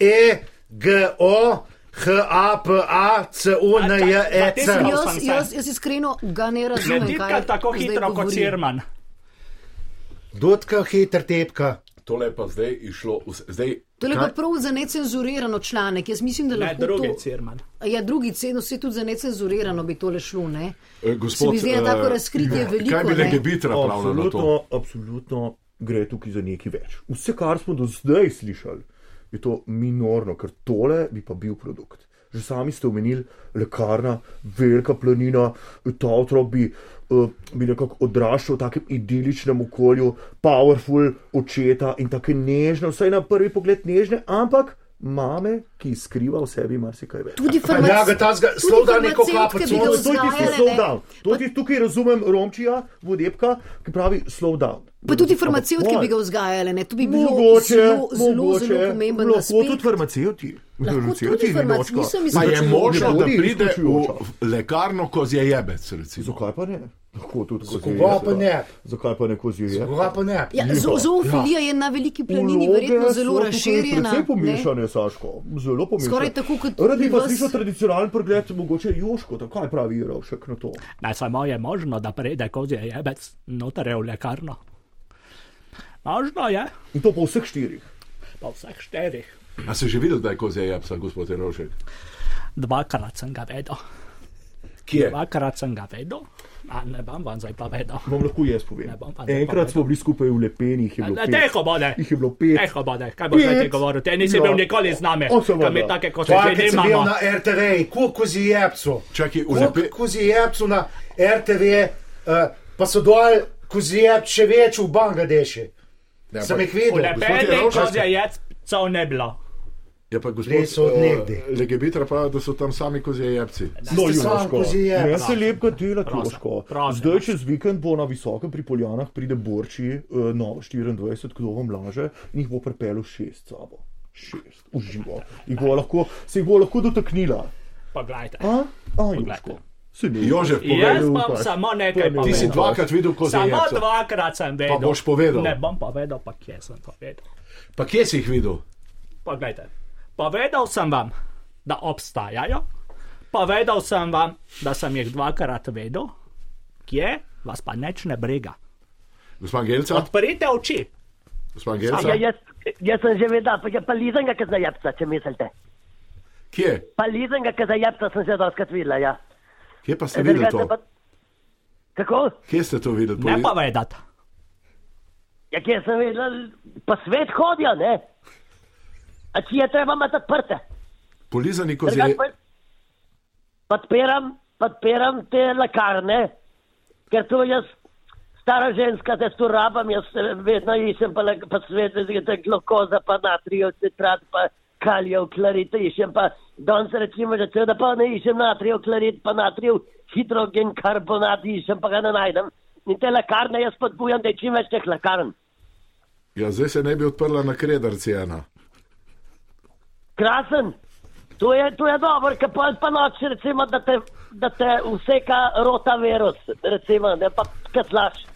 Speaker 3: E, G, O, H, A, P, A, C, U, N, J, E, C.
Speaker 9: Prav
Speaker 7: Jaz,
Speaker 9: sem se.
Speaker 7: jaz, jaz iskreno ga ne
Speaker 9: Ne
Speaker 7: razumem.
Speaker 9: dirka
Speaker 7: kaj
Speaker 9: tako
Speaker 7: zdaj
Speaker 9: hitro kot
Speaker 7: govori.
Speaker 9: Sirman.
Speaker 3: Dotka, hiter, tepka.
Speaker 2: Tole je pa zdaj išlo, vse- zdaj
Speaker 7: To je pa prav za necenzurirano članek. Jaz mislim, da
Speaker 9: Ne,
Speaker 7: lahko
Speaker 9: drugi
Speaker 7: to...
Speaker 9: Sirman.
Speaker 7: Ja, drugi ceno se tudi za necenzurirano bi tole šlo, ne?
Speaker 2: eh,
Speaker 7: Se
Speaker 2: gospod.
Speaker 7: mi zdi, da tako
Speaker 8: e,
Speaker 2: eh,
Speaker 7: razkritje je veliko,
Speaker 2: Kaj bi
Speaker 7: ne?
Speaker 2: nekaj bitra pravno na to?
Speaker 8: Absolutno, absolutno gre tukaj za nekaj več. Vse, kar smo do zdaj slišali, je to minorno, ker tole bi pa bil produkt. Že sami ste omenili lekarna, velika planina, ta otrok bi, eh, bi nekako odraščal v takem idiličnem okolju, powerful očeta in tako nežne, vsaj na prvi pogled nežne, ampak mame, ki skriva v sebi marsikaj več.
Speaker 7: Tudi
Speaker 3: Ja,
Speaker 7: farmac-
Speaker 3: ga ta zga-
Speaker 7: tudi
Speaker 3: slov da neko
Speaker 7: farmacevtke
Speaker 3: kapo
Speaker 7: bi ga
Speaker 3: cunc.
Speaker 8: To je tisti
Speaker 7: vzgajale,
Speaker 8: slow
Speaker 7: ne?
Speaker 8: down. To je tisti- Tukaj razumem Romčija, vodepka, ki pravi slow down.
Speaker 7: Pa tudi
Speaker 8: Ampak
Speaker 7: farmacevtke
Speaker 8: pol-
Speaker 7: bi ga vzgajale, ne? To bi bilo
Speaker 8: Mogoče,
Speaker 7: zelo, zelo,
Speaker 8: mogoče,
Speaker 7: zelo pomemben
Speaker 8: lahko tudi
Speaker 7: aspekt.
Speaker 8: farmacevti.
Speaker 7: Lahko
Speaker 8: Farmacevti,
Speaker 7: tudi farmac-
Speaker 8: Ninočka.
Speaker 7: nisem
Speaker 2: Pa je
Speaker 7: Izključujoča.
Speaker 2: možno, da
Speaker 8: Ne,
Speaker 2: pride
Speaker 8: izključujoča.
Speaker 2: v lekarno, ko je jebec. Recimo.
Speaker 8: Zakaj pa ne? Lahko tudi kot
Speaker 3: Koga pa ne?
Speaker 8: Zakaj pa Ja. ne kot zjutraj?
Speaker 3: Koga pa ne?
Speaker 7: Ja, zo- zoofilija je na veliki planini verjetno zelo razširjena.
Speaker 8: Vse
Speaker 7: ne?
Speaker 8: pomešane, Saško. Zelo pomešane.
Speaker 7: Skoraj tako kot
Speaker 8: Rad bi
Speaker 7: pri
Speaker 8: pa
Speaker 7: vas.
Speaker 8: slišal tradicionalen pregled, mogoče Joško, tako kaj pravi Rovšek na to.
Speaker 9: Ne, samo je možno, da pride kozje jebec noter v lekarno. Možno
Speaker 7: Ja.
Speaker 9: je,
Speaker 8: In to po vseh štirih.
Speaker 9: pa vseh štirih.
Speaker 2: A ste že videli, da je kozje jebca, gospod Jerošek?
Speaker 9: Dvakrat sem ga vedel,
Speaker 2: Kje?
Speaker 9: dvakrat sem ga vedel, a ne bom vam zdaj povedal.
Speaker 8: Vam lahko jaz povem.
Speaker 9: Ne bom pa zdaj
Speaker 8: Enkrat smo bili skupaj v lepenih, je bilo pet.
Speaker 9: Teho bode,
Speaker 8: Jih je bilo pet.
Speaker 9: teho bode, kaj boš zdaj ti
Speaker 8: Pet.
Speaker 9: govoril, te nisi
Speaker 8: Ja.
Speaker 9: bil nikoli z nami,
Speaker 8: On se
Speaker 9: kam je
Speaker 8: voda.
Speaker 9: take kot
Speaker 3: Kaj
Speaker 9: že
Speaker 3: je bil
Speaker 9: imamo.
Speaker 3: na RTV, koliko si jebcu?
Speaker 2: Čakaj, v lepe-
Speaker 3: Koliko kozi jebcu na RTV, eh, pa so dol kozi jebcu še več v Bangladeši.
Speaker 2: Ja,
Speaker 3: Sem
Speaker 2: pa-
Speaker 3: jih videl.
Speaker 9: Lepenih
Speaker 2: Jerovšek.
Speaker 9: kozje jebcev ne bilo.
Speaker 2: Ja, pa gospod
Speaker 3: Res od nekdaj.
Speaker 2: Legebitra pravi, da so tam sami kozje jebci.
Speaker 8: No,
Speaker 3: Ste sam
Speaker 8: Junaško, Ja,
Speaker 3: kozi jebca.
Speaker 8: ne se lepka dela,
Speaker 9: Prosim,
Speaker 8: Junaško.
Speaker 9: prosim.
Speaker 8: Zdaj čez vikend bo na visokem pri Poljanah pride Borči, eh, novo 24, kdo vam laže, in jih bo pripeljal šest s sabo. Šest, uživo. Jih bo lahko, se jih bo lahko dotaknila.
Speaker 9: Poglejte.
Speaker 8: A, a Junaško. Se ne.
Speaker 2: Jožef,
Speaker 9: Jaz
Speaker 2: povej,
Speaker 8: Povej,
Speaker 9: bom
Speaker 8: upaš.
Speaker 9: samo
Speaker 8: To je
Speaker 9: nekaj
Speaker 8: bilo.
Speaker 2: ti si
Speaker 9: povedal.
Speaker 2: dvakrat videl kozje
Speaker 9: Samo
Speaker 2: jebca.
Speaker 9: dvakrat sem vedel.
Speaker 2: Pa boš povedal.
Speaker 9: Ne bom povedal, pa kje sem to vedel.
Speaker 2: Pa kje si jih videl?
Speaker 9: Poglejte, povedal sem vam, da obstajajo, povedal sem vam, da sem jih dvakrat vedel, kje vas pa neč ne briga.
Speaker 2: Gospod Gelca?
Speaker 9: Odprite oči.
Speaker 2: Gospod
Speaker 4: Ja,
Speaker 2: Gelca?
Speaker 4: jaz, jaz sem že vedel, pa, pa lizen ga, ki za jebca, če mislite.
Speaker 2: Kje?
Speaker 4: Pa lizen ga, ki za jebca sem že doskrat videla, ja.
Speaker 2: Kje pa ste videli
Speaker 4: Drugače
Speaker 2: to?
Speaker 4: pa- Kako?
Speaker 2: Kje ste to videli?
Speaker 9: Ne
Speaker 2: Povej-
Speaker 9: povedati.
Speaker 4: Ja, kje sem videla, pa svet hodijo, ne? A če je treba imati odprte.
Speaker 2: Polizani
Speaker 4: Drugače
Speaker 2: kozje.
Speaker 4: pa- Podpiram, podpiram te lekarne, ker to jaz, stara ženska, te tu rabam, jaz eh, vedno iščem pa, le- pa svet, te glukoza, pa natrijev citrat, pa kalijev klarit, iščem pa, danes rečemo že cel, da pa ne iščem natrijev klarit, pa natrijev hidrogen karbonat, iščem pa ga ne najdem. In te lekarne jaz podbujam, da je čim več teh lekarn.
Speaker 2: Ja, zdaj se ne bi odprla na kredarci ena.
Speaker 4: krasen. To je, to je dobro, ker pa, pa noč, recimo, da te, da te vseka rotavirus, recimo, ne pa katlaš.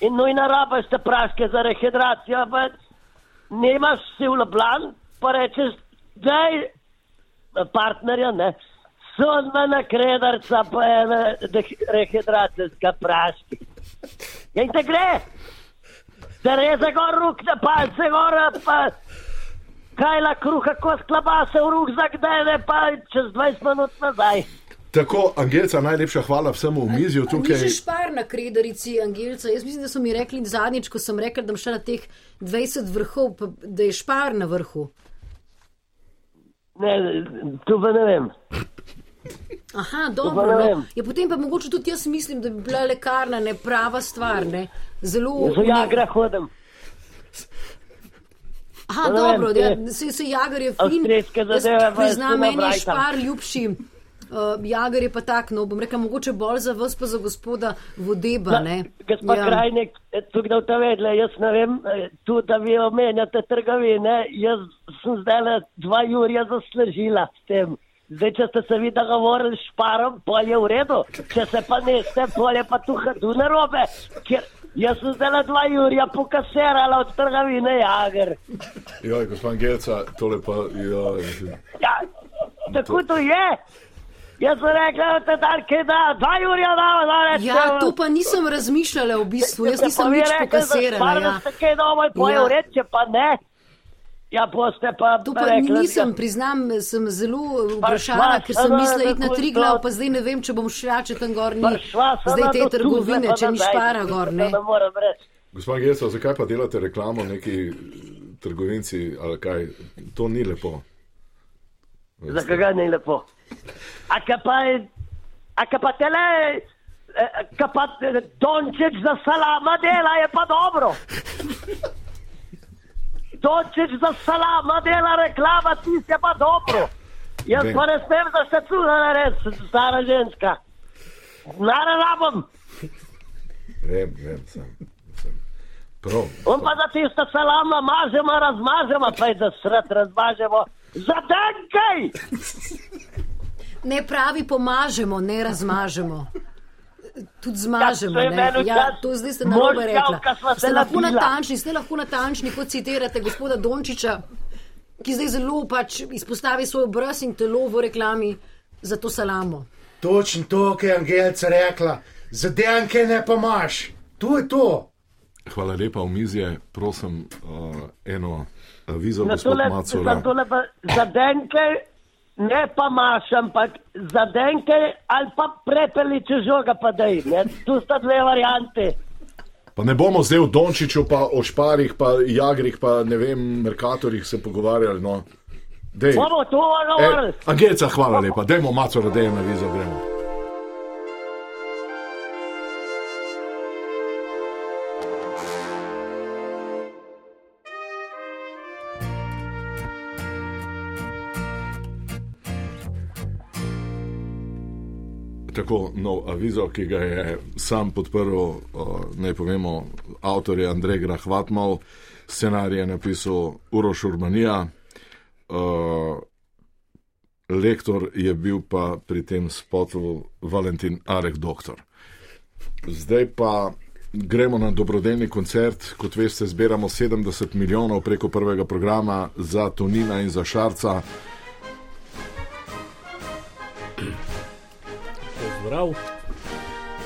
Speaker 4: In nujno rabaš te praške za rehidracijo, pa nimaš si v Ljubljani, pa rečeš, da je partnerja, ne. Sodna kredarca, pa ena deh- rehidracijska praška. Ja, in te gre, da reze gor rukne, palce gor, pa kajla kruha, kos klobase v rukzak, da je pa čez 20 minut nazaj.
Speaker 2: Tako, Angelica, najlepša hvala vsemu v mizju
Speaker 7: Tukaj... Ni
Speaker 2: tukaj.
Speaker 7: že špar na kredarici, Angelca. Jaz mislim, da so mi rekli zadnjič, ko sem rekel, da bom šel na teh 20 vrhov, pa da je špar na vrhu.
Speaker 4: Ne, tu pa ne vem.
Speaker 7: Aha,
Speaker 4: To
Speaker 7: dobro.
Speaker 4: pa ne
Speaker 7: No.
Speaker 4: vem.
Speaker 7: Ja, potem pa mogoče tudi jaz mislim, da bi bila lekarna ne prava stvar. Ne? Zelo.
Speaker 4: Ja, Za jagra hodim,
Speaker 7: Aha,
Speaker 4: ne vem,
Speaker 7: dobro,
Speaker 4: te-
Speaker 7: ja, se, se jagar je fin.
Speaker 4: Avstrijske
Speaker 7: Jaz
Speaker 4: zadeve pa
Speaker 7: Priznam,
Speaker 4: jaz ne
Speaker 7: meni je
Speaker 4: brajtam.
Speaker 7: špar ljubši. Uh, jagar je pa tak, no bom rekla, mogoče bolj za vas, pa za gospoda Vodeba. Ne?
Speaker 4: Gospa ja. Krajnik, tu kdo te vedle, jaz ne vem, eh, tu da vi omenjate trgovine, jaz sem zdaj le dva jurja zaslužila s tem. Zdaj, če ste se vi dogovorili s šparom, polje v redu, če se pa ne ste, polje pa tu hadu na robe. Ker jaz sem zdaj le dva jurja pokaserala od trgovine Jager.
Speaker 2: Joj, gospod Angelica, tole pa. Joj.
Speaker 4: Ja, tako to je. Jaz sem rekla, da te kaj da, dva jurja da, da rečem.
Speaker 7: Ja, to pa nisem razmišljala v bistvu, jaz nisem nič pokasirala. Ja.
Speaker 4: Ste kaj dobro
Speaker 7: Ja.
Speaker 4: pojel, reče pa ne. Ja, boste pa. ja.
Speaker 7: To pa
Speaker 4: rekli,
Speaker 7: nisem,
Speaker 4: da-
Speaker 7: priznam, sem zelo vprašana,
Speaker 4: Prišla
Speaker 7: ker
Speaker 4: sem
Speaker 7: sem
Speaker 4: na
Speaker 7: mislila iti na
Speaker 4: tako
Speaker 7: tri glav,
Speaker 4: to.
Speaker 7: pa zdaj ne vem, če bom šla, če tam gor ni.
Speaker 4: Prišla sem
Speaker 7: Zdaj
Speaker 4: na
Speaker 7: te
Speaker 4: to
Speaker 7: trgovine,
Speaker 4: Tuzle,
Speaker 7: če
Speaker 4: pa
Speaker 7: ni
Speaker 4: nazaj,
Speaker 7: špara
Speaker 4: to
Speaker 7: gor, ne.
Speaker 4: Ne morem reči.
Speaker 2: Gospod Angelica, zakaj pa delate reklamo neki trgovinci ali kaj? To ni lepo.
Speaker 4: Za koga ni lepo. A ka pa, je- a ka pa tele, eh, ka pa eh, Dončić za salama dela, je pa dobro. Dončić za salama dela reklama, tisti je pa dobro. Jaz
Speaker 2: Vem.
Speaker 4: pa ne smem za se cuha reči, stara ženska. Znara rabom,
Speaker 2: Vem, vem, sem. sem. Prav.
Speaker 4: on pa za tista salama mažemo, razmažemo, pa je za sred razmažemo. Zadenkaj!
Speaker 7: Ne pravi pomažemo, ne razmažemo. Tudi zmažemo.
Speaker 4: Ja, to je
Speaker 7: ne.
Speaker 4: meni
Speaker 7: Ja,
Speaker 4: včasih
Speaker 7: to zdaj ste narobe
Speaker 4: mož
Speaker 7: rekla.
Speaker 4: javka sva se
Speaker 7: Ste lahko
Speaker 4: nabila.
Speaker 7: natančni, ste lahko natančni, ko citirate gospoda Dončiča, ki zdaj zelo pač izpostavi svoj obraz in telo v reklami za to salamo.
Speaker 9: Točno to, kar je Angelica rekla, zadejanke ne pa imaš. To je to.
Speaker 2: Hvala lepa, omizje, prosim, uh, eno avizo,
Speaker 4: Na
Speaker 2: gospod
Speaker 4: tole-
Speaker 2: Macora.
Speaker 4: za tole pa Zadenke, ne pa maš, ampak zadenke ali pa prepeli, če žoga pa da je. Tu sta dve variante.
Speaker 2: Pa ne bomo zdaj o Dončiću, pa o Šparih, pa Jagrih, pa ne vem, Merkatorjih se pogovarjali. No. Dej,
Speaker 4: Bomo to
Speaker 2: e,
Speaker 4: govorili.
Speaker 2: Angelica, hvala lepa, dajmo Macora, dajmo na vizo, gremo. Tako nov avizo, ki ga je sam podprl, uh, naj povemo, avtor je Andrej Grahvatmal, scenarij je napisal Uroš Urbanija, uh, lektor je bil pa pri tem spotu Valentin Arek Doktor. Zdaj pa gremo na dobrodelni koncert. Kot veste, zbiramo 70 milijonov preko prvega programa za Tonina in za Šarca.
Speaker 10: Zdrav.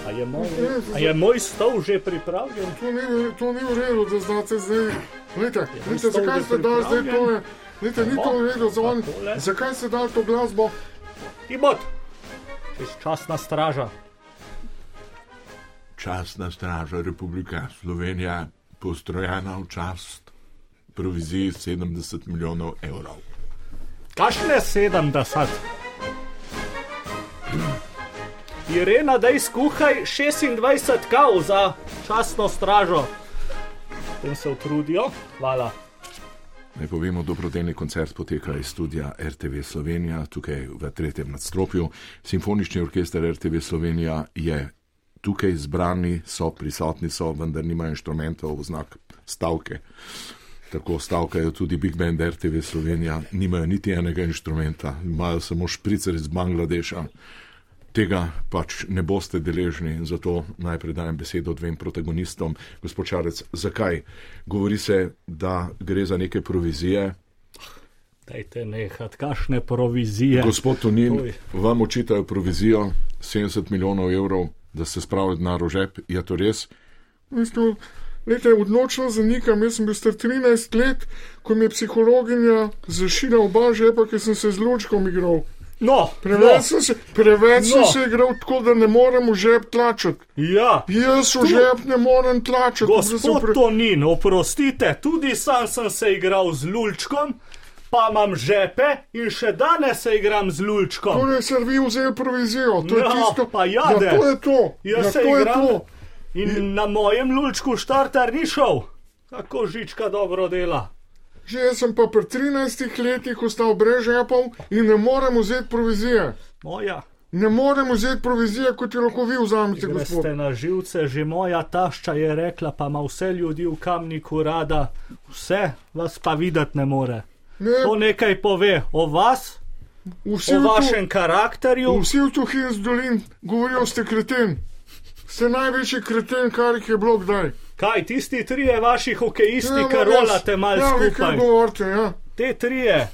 Speaker 10: A je, moj, a je moj stol že pripravljen?
Speaker 5: To ni, to ni v redu, da znate zdaj. Lejte, lejte,
Speaker 10: stol
Speaker 5: zakaj
Speaker 10: že
Speaker 5: ste dali zdaj
Speaker 10: Ja,
Speaker 5: tole?
Speaker 10: pripravljen.
Speaker 5: Lejte, ni to v redu, zon.
Speaker 10: takole.
Speaker 5: Zakaj ste dali to glasbo?
Speaker 10: Timot! Čez časna straža.
Speaker 2: Časna straža Republika Slovenija, postrojena v čast proviziji 70 milijonov evrov.
Speaker 10: Kašne 70? Irena, daj skuhaj 26 kav za časno stražo. Tem se utrudijo, hvala.
Speaker 2: Naj povemo, dobrodelni koncert poteka iz studia RTV Slovenija, tukaj v tretjem nadstropju. Simfonični orkester RTV Slovenija je tukaj zbrani, so prisotni, so, vendar nimajo inštrumentov v znak stavke. Tako stavkajo tudi Big Band RTV Slovenija, nimajo niti enega inštrumenta, imajo samo špricer iz Bangladeša. Tega pač ne boste deležni, zato najprej dajem besedo dvem protagonistom. Gospod Čarec, zakaj? Govori se, da gre za neke provizije.
Speaker 10: Dajte nehat, kašne provizije.
Speaker 2: Gospod Tonin,
Speaker 10: Oj.
Speaker 2: vam očitajo provizijo 70 milijonov evrov, da ste spravili denar v žep. Je to res?
Speaker 5: Isto, lete, odločno zanikam, jaz sem bil star 13 let, ko mi je psihologinja zašila oba žepa, ker sem se z ločkom igral.
Speaker 10: No,
Speaker 5: Preveč
Speaker 10: no,
Speaker 5: sem se, preveč sem
Speaker 10: No.
Speaker 5: se igral tako, da ne morem v žep tlačiti.
Speaker 10: ja.
Speaker 5: Jaz v žep ne morem tlačiti. zato sem
Speaker 10: Gospod
Speaker 5: pre-
Speaker 10: Tonin, oprostite, tudi sam sem se igral z lulčkom, pa imam žepe in še danes se igram z lulčkom.
Speaker 5: Torej, ser vi vzeli provizijo, to je
Speaker 10: Ja,
Speaker 5: tisto,
Speaker 10: pa jade.
Speaker 5: Ja, to je to.
Speaker 10: Jaz
Speaker 5: ja,
Speaker 10: se
Speaker 5: to je
Speaker 10: igram.
Speaker 5: to.
Speaker 10: In na mojem lulčku štarter ni šel. Kako žička dobro dela.
Speaker 5: Že jaz sem pa pri 13 letih ostal brez žepov in ne morem vzeti provizije.
Speaker 10: Moja,
Speaker 5: Ne morem vzeti provizije, kot jo lahko vi vzamete, gospod.
Speaker 10: greste na živce, že moja tašča je rekla, pa ima vse ljudi v kamniku rada, vse vas pa videti ne more.
Speaker 5: Ne,
Speaker 10: To nekaj pove o vas,
Speaker 5: vsi,
Speaker 10: o
Speaker 5: v to,
Speaker 10: vašem karakterju.
Speaker 5: vsi v Tuhin z dolin govorijo, ste kreten. Ste največji kreten, kar jih je bilo kdaj.
Speaker 10: Kaj tisti trije vaši hokejisti,
Speaker 5: Ja,
Speaker 10: ki
Speaker 5: res.
Speaker 10: rolate malo
Speaker 5: ja, vi kar
Speaker 10: skupaj?
Speaker 5: govorite, ja.
Speaker 10: Te trije.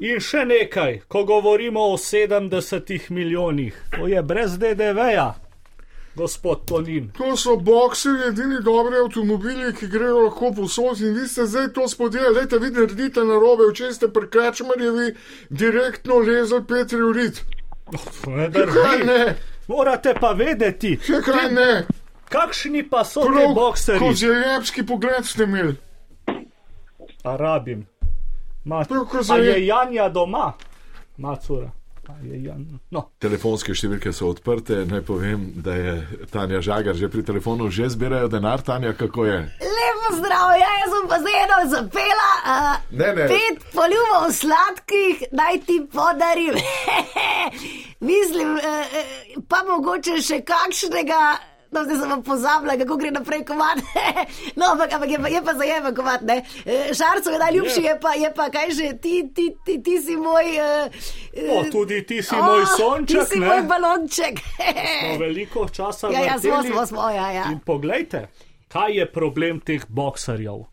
Speaker 10: In še nekaj, ko govorimo o 70 milijonih, to je brez DDV-ja, gospod Tonin.
Speaker 5: To so bokserji, edini dobri avtomobili, ki grejo lahko posod in vi ste zdaj to spodjeli. Lejte, vi naredite narobe, včeraj ste prekračmarjevi direktno lezel Petri Urit.
Speaker 10: Ne
Speaker 5: Kaj
Speaker 10: drži.
Speaker 5: ne,
Speaker 10: Morate pa vedeti,
Speaker 5: kaj ne.
Speaker 10: kakšni pa so ti
Speaker 5: Prav, kot
Speaker 10: bokserji.
Speaker 5: zajebski pogled ste imeli.
Speaker 10: Arabim. Ma,
Speaker 5: Prav, kot
Speaker 10: a je ja-
Speaker 5: zajebski.
Speaker 10: Janja doma? Macura. A je Jan... No,
Speaker 2: Telefonske številke so odprte. Naj povem, da je Tanja Žagar že pri telefonu, že zbirajo denar. Tanja, kako je?
Speaker 1: Lepo zdrav, ja, jaz sem pa zelo zapela. Uh,
Speaker 2: Ne, ne.
Speaker 1: Pet poljubov sladkih naj ti podarim. [laughs] Mislim, uh, pa mogoče še kakšnega. No, zdaj sem pa pozabila, kako gre naprej kovat. [laughs] no, ampak, ampak je, pa, je pa zajema kovat, ne. Eh, Šarcu je najljubši,
Speaker 10: Ja.
Speaker 1: je pa, je pa kaj že, ti, ti, ti, ti si moj. Uh,
Speaker 10: no tudi ti si moj
Speaker 1: Ti
Speaker 10: sonček,
Speaker 1: si moj
Speaker 10: ne?
Speaker 1: balonček.
Speaker 10: Veliko
Speaker 1: [laughs]
Speaker 10: časa
Speaker 1: ja, ja, smo,
Speaker 10: vrteli.
Speaker 1: smo, smo, ja, ja.
Speaker 10: In poglejte, kaj je problem teh bokserjev.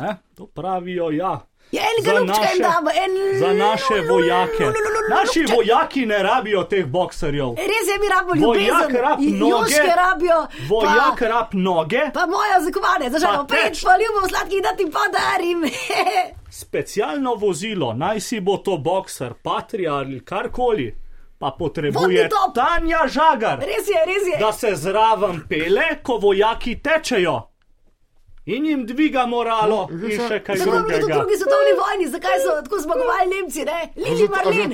Speaker 10: Eh? To pravijo, ja.
Speaker 1: Ja, enega
Speaker 10: Za
Speaker 1: ljubčka
Speaker 10: naše-
Speaker 1: jim damo, en
Speaker 10: Za naše vojake. Naši
Speaker 1: ljubček.
Speaker 10: vojaki ne rabijo teh bokserjev.
Speaker 1: Res je, mi rabimo
Speaker 10: Vojak
Speaker 1: ljubezen.
Speaker 10: rab
Speaker 1: I-
Speaker 10: noge,
Speaker 1: Joške rabijo.
Speaker 10: vojak
Speaker 1: Pa,
Speaker 10: rab noge,
Speaker 1: pa moja zakovane,
Speaker 10: Pa
Speaker 1: zažal, pet
Speaker 10: teč.
Speaker 1: pa ljubov sladkih, da ti podarim.
Speaker 10: specialno vozilo, naj si bo to bokser, patria ali karkoli, pa
Speaker 1: Vodni
Speaker 10: potrebuje
Speaker 1: top.
Speaker 10: Tanja Žagar,
Speaker 1: Res je, res je.
Speaker 10: da se zraven pele, ko vojaki tečejo. In jim dviga moralo, in še kaj
Speaker 1: Tako je bilo tudi v
Speaker 10: drugega.
Speaker 1: drugi svetovni vojni, zakaj so tako zmagovali Nemci, ne? Lili Marlin.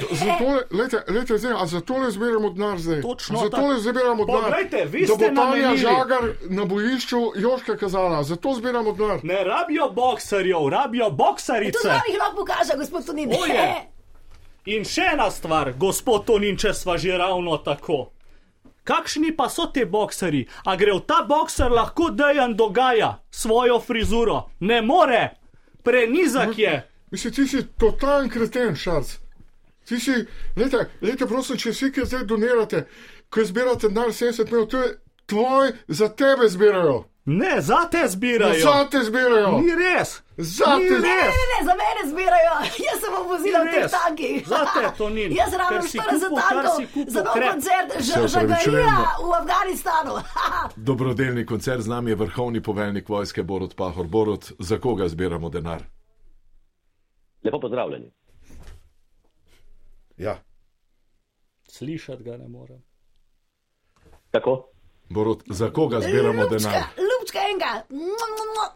Speaker 5: Lejte, zdaj, a zato le zbiramo denar zdaj?
Speaker 10: Točno
Speaker 5: Zato
Speaker 10: tako.
Speaker 5: le zbiramo denar.
Speaker 10: Poglejte, vi
Speaker 5: da bo
Speaker 10: ste
Speaker 5: Tanja
Speaker 10: namenili.
Speaker 5: Žagar na bojišču Joška kazala, zato zbiramo denar.
Speaker 10: Ne rabijo bokserjev, rabijo
Speaker 1: E, To
Speaker 10: boksarice.
Speaker 1: zdravih rok pokaže, gospod E, Tunin.
Speaker 10: Oje. In še ena stvar, gospod Tonin, če sva že ravno tako. Kakšni pa so ti boksari? A gre v ta bokser lahko dejan dogaja svojo frizuro? Ne more, prenizak je.
Speaker 5: Mislim, ti si totalen kreten, šarc. Ti si, lejte, lejte, prosim, če vsi, ki zdaj donirate, ko zbirate denar 70 milijonov, to je tvoj, za tebe zbirajo. No,
Speaker 10: Ne, za te zbirajo.
Speaker 5: Za te zbirajo.
Speaker 10: Ni res.
Speaker 5: Za
Speaker 10: Ni
Speaker 5: te
Speaker 1: Ne,
Speaker 10: res.
Speaker 1: ne, ne, za mene zbirajo, jaz sem vozila v
Speaker 10: Ni
Speaker 1: teh
Speaker 10: res.
Speaker 1: tankih.
Speaker 10: Zate, Tonin,
Speaker 1: Jaz
Speaker 10: ker
Speaker 1: rabim
Speaker 10: si
Speaker 1: 40
Speaker 10: kupil, kar
Speaker 1: tankov
Speaker 10: si kupil,
Speaker 1: za nov
Speaker 10: krep.
Speaker 1: koncert
Speaker 2: Se
Speaker 1: Ža-
Speaker 2: opravičujem.
Speaker 1: Žagarija v Afganistanu. [laughs]
Speaker 2: Dobrodelni koncert z nami je vrhovni poveljnik vojske Borod Pahor. Borod, za koga zbiramo denar?
Speaker 11: Lepo pozdravljeni.
Speaker 2: Ja.
Speaker 10: Slišati ga ne morem.
Speaker 11: Tako.
Speaker 2: Borod, za koga zbiramo denar?
Speaker 1: Ljubčka enega. Mua, mua, mua.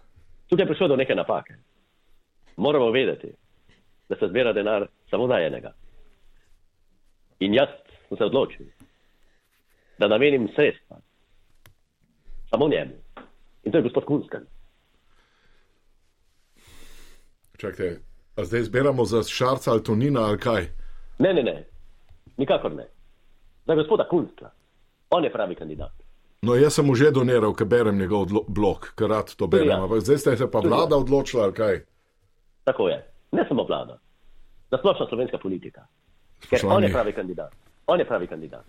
Speaker 11: Tukaj je prišlo do neke napake. Moramo vedeti, da se zbira denar samo za enega. In jaz sem se odločil, da namenim sredstva samo njemu. In to je gospod Kunskan.
Speaker 2: Čakajte, a zdaj zbiramo za Šarca ali Tonina ali kaj?
Speaker 11: Ne, ne, ne, nikakor ne. Za gospoda Kunska. On je pravi kandidat.
Speaker 2: No, jaz sem mu že doniral, ker berem njegov odlo- blog, ker rad to berem.
Speaker 11: ja.
Speaker 2: Ampak zdaj ste se pa
Speaker 11: Tudi ja.
Speaker 2: vlada odločila, ali kaj?
Speaker 11: Tako je. Ne samo vlada, nasplošna slovenska politika. Ker on je
Speaker 2: Spoštovani.
Speaker 11: pravi kandidat. On je pravi kandidat.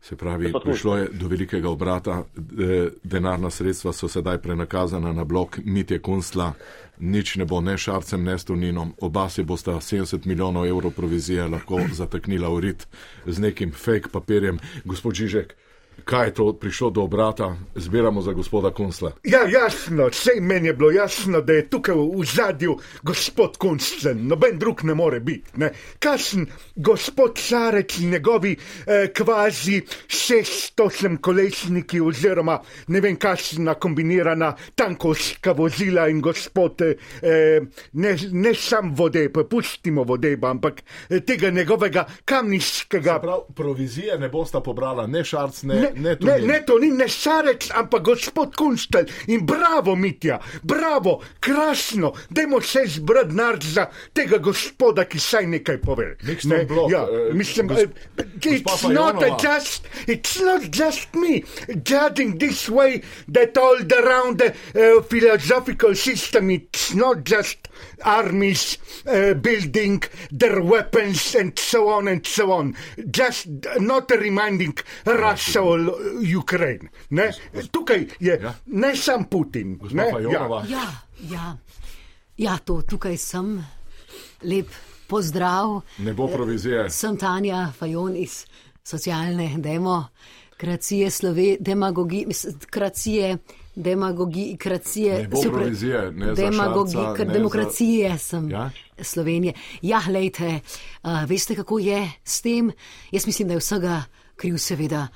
Speaker 2: Se pravi,
Speaker 11: Gospod Kuš.
Speaker 2: prišlo je do velikega obrata, eh, denarna sredstva so sedaj prenakazana na blok Mitje Kunstla, nič ne bo ne Šarcem, ne Stoninom, oba si bosta 70 milijonov evrov provizije lahko zateknila v rit z nekim fake papirjem. Gospod Žižek, kaj je to prišlo do obrata, zbiramo za gospoda Kunstla.
Speaker 3: Ja, jasno, vse meni je bilo jasno, da je tukaj v zadju gospod Kunsten, noben drug ne more biti. ne. Kašen gospod Sarec in njegovi eh, kvazi 608 kolesniki oziroma ne vem kašna kombinirana tankovska vozila in gospod eh, eh, ne, ne sam vode, pa pustimo vode, ampak eh, tega njegovega kamniškega
Speaker 2: Prav, provizije ne bosta pobrala ne Šarc, ne,
Speaker 3: Ne, ne, ne, ne, to ni nešarec, ampak gospod Kunštel in bravo, Mitja, bravo, krasno, dajmo se zbrati narod za tega gospoda, ki saj nekaj pove.
Speaker 2: Niks ne blok,
Speaker 3: ja,
Speaker 2: eh,
Speaker 3: mislim,
Speaker 2: gos-
Speaker 3: eh, it's
Speaker 2: gospa
Speaker 3: not a
Speaker 2: Fajonova.
Speaker 3: just, it's not just me judging this way that all the round the uh, philosophical system, it's not just armies uh, building their weapons and so on and so on. Just not reminding Russia or Ukraine. Ne? Tukaj je
Speaker 2: Ja.
Speaker 3: ne sam Putin.
Speaker 2: Gospa
Speaker 3: Ne?
Speaker 2: Fajonova.
Speaker 7: Ja, ja. ja to, tukaj sem, lep pozdrav.
Speaker 2: ne bo provizije.
Speaker 7: Sem Tanja Fajon iz socialne demokracije, slove, demagogi, mislim, kracije, demagogi, kracije,
Speaker 2: Ne bo
Speaker 7: se upra-
Speaker 2: provizije, ne za
Speaker 7: demagogi,
Speaker 2: Šarca,
Speaker 7: kar
Speaker 2: ne
Speaker 7: demokracije sem.
Speaker 2: Ja?
Speaker 7: Slovenije. Ja, lejte, uh, veste, kako je s tem? Jaz mislim, da je vsega kriv seveda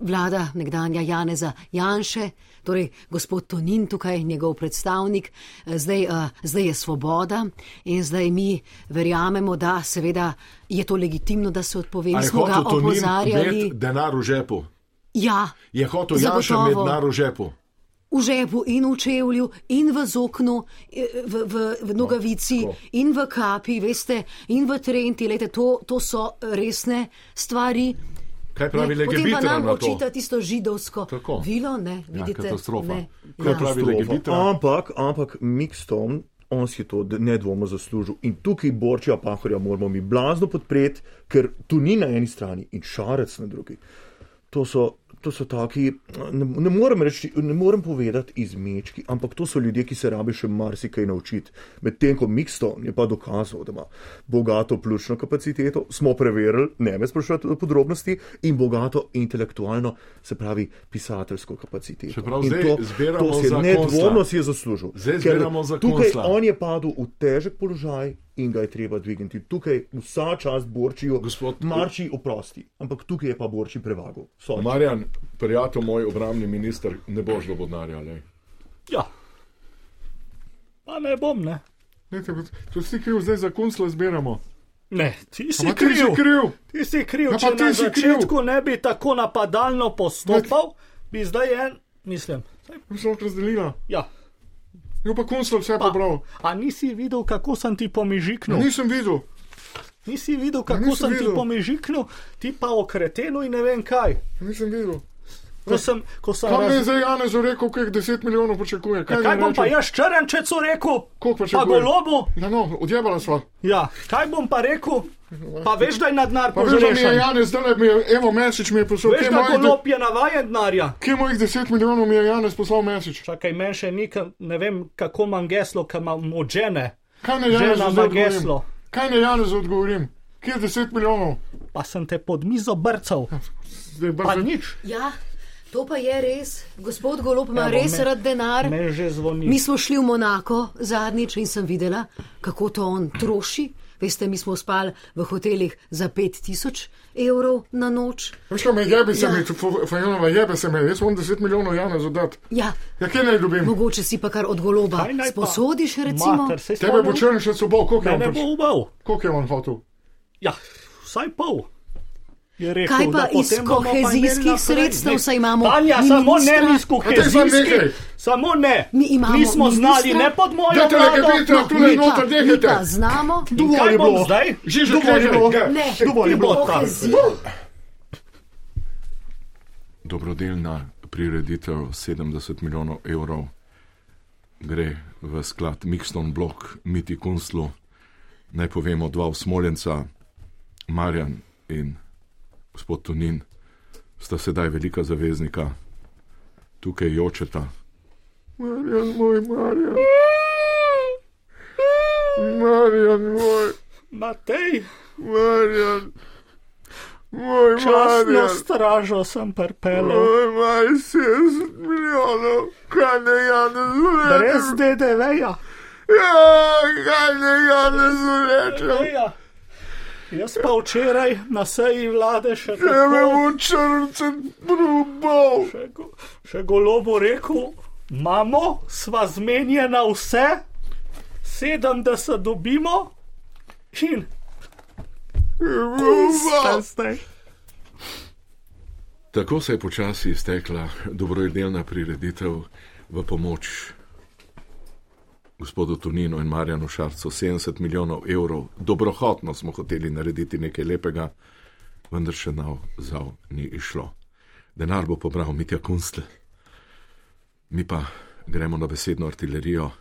Speaker 7: vlada nekdanja Janeza Janše, torej gospod Tonin tukaj, njegov predstavnik, Eh, zdaj, uh, zdaj je svoboda in zdaj mi verjamemo, da seveda je to legitimno, da se odpove. Mi
Speaker 2: Ali je
Speaker 7: smo ga
Speaker 2: hotel to njim
Speaker 7: opozarjali.
Speaker 2: imeti denar v žepu?
Speaker 7: Ja,
Speaker 2: Je hotel Janša imeti
Speaker 7: Zagotovo.
Speaker 2: denar v žepu?
Speaker 7: v žepu in v čevlju in v zoknu, eh, v, v, v
Speaker 2: No,
Speaker 7: nogavici in v kapi, veste, in v trenti. Lejte, to, to so resne stvari.
Speaker 2: Kaj pravi
Speaker 7: ne, potem pa
Speaker 2: legebitelj
Speaker 7: nam
Speaker 2: na to?
Speaker 7: očita tisto židovsko
Speaker 2: Tako.
Speaker 7: vilo, ne,
Speaker 2: Ja,
Speaker 7: vidite.
Speaker 2: katastrofa.
Speaker 7: Ne,
Speaker 2: Kaj
Speaker 7: ja.
Speaker 2: pravi legebitelj?
Speaker 8: Ampak, ampak Mikston, on si je to d- nedvomno zaslužil in tukaj Borčija Pahorja moramo mi blazno podpreti, ker tu ni na eni strani in šarec na drugi. To so, to so taki, ne, ne, morem reči, ne morem povedati izmečki, ampak to so ljudje, ki se rabi še marsikaj naučiti. Medtem ko Mikston je pa dokazal, da ima bogato pljučno kapaciteto, smo preverili, ne me sprašujete o podrobnosti, in bogato intelektualno, se pravi pisateljsko kapaciteto.
Speaker 2: Se pravi,
Speaker 8: In
Speaker 2: zdaj zbiramo
Speaker 8: to si je
Speaker 2: za
Speaker 8: nedvomno
Speaker 2: Konsla.
Speaker 8: si je zaslužil.
Speaker 2: Zdaj
Speaker 8: Ker
Speaker 2: zbiramo za
Speaker 8: Tukaj
Speaker 2: Konsla.
Speaker 8: on je padel v težek položaj in ga je treba dvigniti. Tukaj vsa čast borčijo,
Speaker 2: Gospod-
Speaker 8: marči oprosti, ampak tukaj je pa borči prevagal. Sorry.
Speaker 2: Marjan, prijatelj moj, obramni minister, ne boš lobodnarja. Ne?
Speaker 10: Ja. Pa ne bom, ne.
Speaker 2: To si kriv, zdaj za kunsla zbiramo.
Speaker 10: Ne, ti si
Speaker 2: Ma ti
Speaker 10: kriv.
Speaker 2: si kriv.
Speaker 10: Ti si kriv,
Speaker 2: Ja,
Speaker 10: če
Speaker 2: pa ti
Speaker 10: na
Speaker 2: si kriv.
Speaker 10: začetku ne bi tako napadalno postopal, bi zdaj en, mislim.
Speaker 2: Mislim, da razdelila.
Speaker 10: Ja.
Speaker 2: Jo pa kunsla vse Ja,
Speaker 10: Pa, a nisi videl, kako sem ti pomižiknil?
Speaker 2: Nisem videl. Ja,
Speaker 10: Nisi videl, kako
Speaker 2: nisem
Speaker 10: sem ti
Speaker 2: videl.
Speaker 10: pomižiknil, ti pa okretenu in ne vem kaj.
Speaker 2: Ja, Nisem videl.
Speaker 10: Ko sem, ko sem
Speaker 2: Kam
Speaker 10: raz-
Speaker 2: je zdaj Janez rekel, kaj 10 milijonov počakuje? Kaj,
Speaker 10: E, Kaj
Speaker 2: naj
Speaker 10: bom pa
Speaker 2: rečem?
Speaker 10: jaz črnčecu rekel?
Speaker 2: Koliko pa
Speaker 10: Pa
Speaker 2: čakuje?
Speaker 10: golobu?
Speaker 2: Ja, no, odjebala sva.
Speaker 10: Ja, kaj bom pa rekel?
Speaker 2: Ja.
Speaker 10: Pa veš, da je na denar
Speaker 2: Pa veš, da mi je
Speaker 10: požrešen.
Speaker 2: Janez, zdaj mi je, evo, mesič mi je poslal.
Speaker 10: Veš,
Speaker 2: Kje
Speaker 10: da
Speaker 2: mojih de-
Speaker 10: golob je navajen denarja.
Speaker 2: kje mojih 10 milijonov mi je Janez poslal mesič?
Speaker 10: Čakaj, meni še ni, ka- ne vem, kako imam geslo, ki imam možene.
Speaker 2: Kaj ne Janez
Speaker 10: Žena ima
Speaker 2: odgovorim?
Speaker 10: geslo.
Speaker 2: Kaj ne Janez odgovorim? Kje je 10 milijonov? Ja,
Speaker 10: Pa sem te pod mizo brcal,
Speaker 2: Zdaj
Speaker 10: pa
Speaker 2: brzo.
Speaker 10: nič.
Speaker 7: ja, to pa je res. Gospod Golop ima
Speaker 10: Evo,
Speaker 7: res
Speaker 10: Ja, me-
Speaker 7: rad denar.
Speaker 10: Meni že zvoni.
Speaker 7: Mi smo šli v Monako zadnjič in sem videla, kako to on troši. Veste, mi smo spali v hotelih za 5000 evrov na noč.
Speaker 2: Veš, kaj me jebe se
Speaker 7: Ja.
Speaker 2: mi, Fa- Fajonova, jebe se me, jaz moram 10 milijonov Janez oddat.
Speaker 7: Ja,
Speaker 2: Ja, kje naj dobim?
Speaker 7: mogoče si pa kar od goloba
Speaker 10: Kaj naj pa?
Speaker 7: sposodiš, recimo.
Speaker 10: Mater, saj
Speaker 2: Tebe bo
Speaker 10: spomnim,
Speaker 2: črn še sobo, koliko je
Speaker 10: da
Speaker 2: on
Speaker 10: ne bo
Speaker 2: prišel?
Speaker 10: ubal.
Speaker 2: Koliko je on hotel?
Speaker 10: Ja, vsaj pol. je Rekel,
Speaker 7: Kaj pa
Speaker 10: da
Speaker 7: iz
Speaker 10: potem bomo pa imeli
Speaker 7: kohezijskih
Speaker 10: naprej.
Speaker 7: sredstev,
Speaker 10: Ne,
Speaker 7: saj imamo
Speaker 10: Tanja, ja, samo ne
Speaker 7: ministra.
Speaker 10: iz
Speaker 2: A te zdaj nehaj.
Speaker 10: kohezijskih. Samo ne.
Speaker 7: Mi imamo
Speaker 10: Nismo znali,
Speaker 7: ministra. No,
Speaker 10: ne pod mojo
Speaker 2: Dajte nekaj
Speaker 10: vlado.
Speaker 2: vitra, tu
Speaker 7: mi
Speaker 2: ne
Speaker 7: pa-
Speaker 2: noter,
Speaker 7: mi
Speaker 2: nehajte.
Speaker 7: pa znamo.
Speaker 10: Kaj
Speaker 8: je
Speaker 10: bom
Speaker 8: bilo?
Speaker 10: zdaj?
Speaker 2: Žižek,
Speaker 8: Dovolj je bilo.
Speaker 2: nehaj.
Speaker 7: Ne,
Speaker 8: dovolj je bilo.
Speaker 7: kohezija.
Speaker 2: Dobrodelna prireditev 70 milijonov evrov gre v sklad Mixton Blok, Miti Kunslu. Naj povemo dva usmoljenca, Marjan in gospod Tunin, sta sedaj velika zaveznika, tukaj jočeta.
Speaker 5: Marjan, moj Marjan. Marjan, moj.
Speaker 10: Matej,
Speaker 5: Marjan. Moj
Speaker 10: časno
Speaker 5: Marjan.
Speaker 10: stražo sem pripeljal.
Speaker 5: Moj maj 60 milijonov. Kaj ne Janez
Speaker 10: Brez
Speaker 5: reče?
Speaker 10: DDV-ja.
Speaker 5: Ja, kaj ne Janez reče?
Speaker 10: Ja. Jaz pa včeraj na seji vlade še
Speaker 5: Ja me
Speaker 10: tako,
Speaker 5: bo črncem probal.
Speaker 10: še, go- še golobo rekel, mamo, sva zmenjena vse, 70 dobimo in
Speaker 5: Guba.
Speaker 10: zdaj.
Speaker 2: Tako se je počasi iztekla dobrodelna prireditev v pomoč gospodu Tuninu in Marjanu Šarcu 70 milijonov evrov. Dobrohotno smo hoteli narediti nekaj lepega, vendar še nav zav ni išlo. Denar bo pobral Mitja Kunstl, mi pa gremo na besedno artilerijo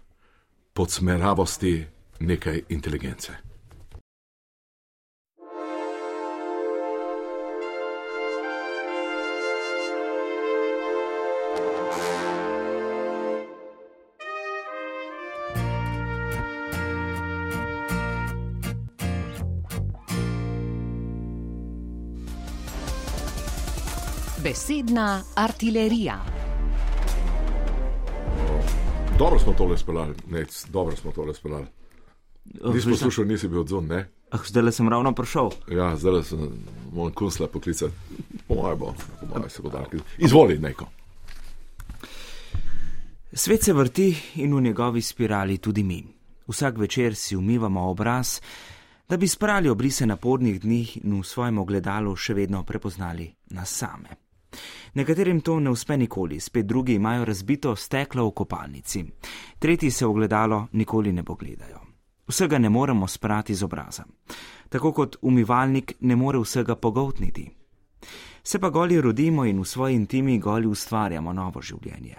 Speaker 2: pod smeravosti nekaj inteligence.
Speaker 7: Besedna artilerija.
Speaker 2: Dobro smo tole speljali, nec, dobro smo tole speljali. Nisi poslušal, nisi bil odzon, ne?
Speaker 12: Oh, Ah, zdaj le sem ravno prišel.
Speaker 2: Ja, zdaj le sem moram kusla poklicati, po mojem bo, po mojem se bo dal. Izvoli neko.
Speaker 12: Svet se vrti in v njegovi spirali tudi mi. Vsak večer si umivamo obraz, da bi sprali obrise napornih dni in v svojem ogledalu še vedno prepoznali nas same. Nekaterim to ne uspe nikoli, spet drugi imajo razbito steklo v kopalnici, tretji se v ogledalo nikoli ne pogledajo. Vsega ne moremo sprati z obraza. Tako kot umivalnik ne more vsega pogotniti. Se pa goli rodimo in v svoji intimi goli ustvarjamo novo življenje.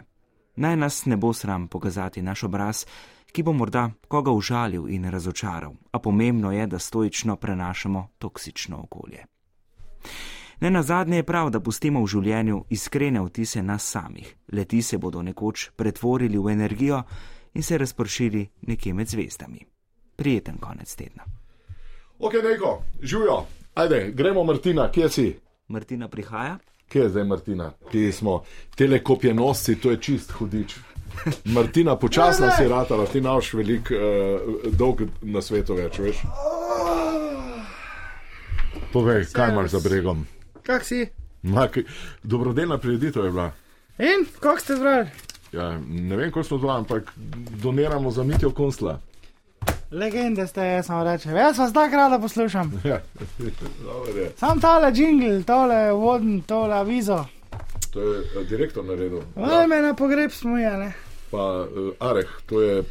Speaker 12: Naj nas ne bo sram pokazati naš obraz, ki bo morda koga užalil in razočaral, a pomembno je, da stoično prenašamo toksično okolje. Ne na zadnje je prav, da pustimo v življenju iskrene vtise nas samih. Leti se bodo nekoč pretvorili v energijo in se razpršili nekje med zvezdami. Prijeten konec tedna.
Speaker 2: Ok, neko, živijo, ajde, gremo Martina, kje si?
Speaker 12: Martina prihaja?
Speaker 2: Kje je zdaj Martina? Kje smo? Telekopjenosci, to je čist hudič. Martina, počasno si ratala, ti naš velik, eh, dolg na svetu več, veš? Povej, kaj imaš za bregom?
Speaker 13: Kak si?
Speaker 2: Ma, k- Dobrodelna prireditev je bila.
Speaker 13: In kako ste zbrali?
Speaker 2: Ja, ne vem, kako smo to, ampak doniramo za mitijo konsla.
Speaker 13: Legende ste, jaz vam rečem. Jaz vas tako rada poslušam.
Speaker 2: Ja, dobro je.
Speaker 13: Sam tale jingle, tole vodn, tole avizo.
Speaker 2: To je eh, direktor naredil.
Speaker 13: Vale me na pogreb smuje, ne?
Speaker 2: Pa uh, Areh, to je,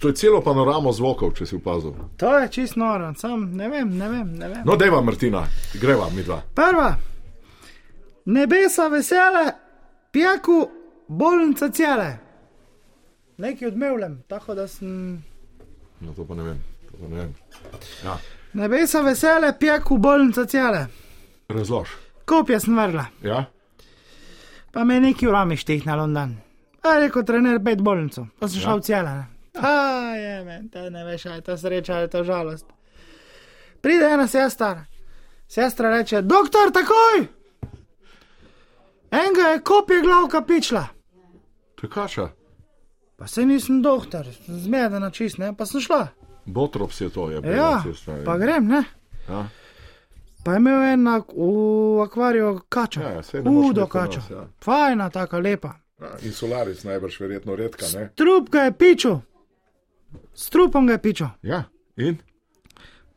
Speaker 2: to je celo panoramo zvokov, če si opazil.
Speaker 13: To je čist noro, sam ne vem, ne vem, ne vem.
Speaker 2: No, deva Martina, greva mi dva.
Speaker 13: Prva, nebesa vesele, pijaku, bolnica cele. Nekaj odmevljem, tako da sem.
Speaker 2: No, to pa ne vem. to pa ne vem. Ja.
Speaker 13: Nebesa vesele, pijaku, bolnica cele.
Speaker 2: Razlož.
Speaker 13: Kopje sem vrla,
Speaker 2: Ja?
Speaker 13: pa me je neki urami štihnal on dan. A rekel trener pet bolnico, pa sem šel ja. cele. ne. A je, men, to ne veš, ali je to sreča ali je to žalost. Pride ena sestra, sestra reče, doktor, takoj! Enega je kopje glavka pičla.
Speaker 2: To je kaša.
Speaker 13: Pa se nisem doktor, sem zmedena čist, ne? pa sem šla.
Speaker 2: Botrops je to, je bilo.
Speaker 13: Ja,
Speaker 2: cestna, je.
Speaker 13: pa grem, ne.
Speaker 2: Ja.
Speaker 13: Pa je imel en ak- v akvariju kača,
Speaker 2: Ja, ja, saj ne moreš
Speaker 13: hudo
Speaker 2: imeti
Speaker 13: kača,
Speaker 2: nas, ja.
Speaker 13: fajna, taka lepa.
Speaker 2: Ja, In solaris najbrž verjetno redka, ne?
Speaker 13: Strup ga je pičil, s trupom ga je pičil.
Speaker 2: Ja. In?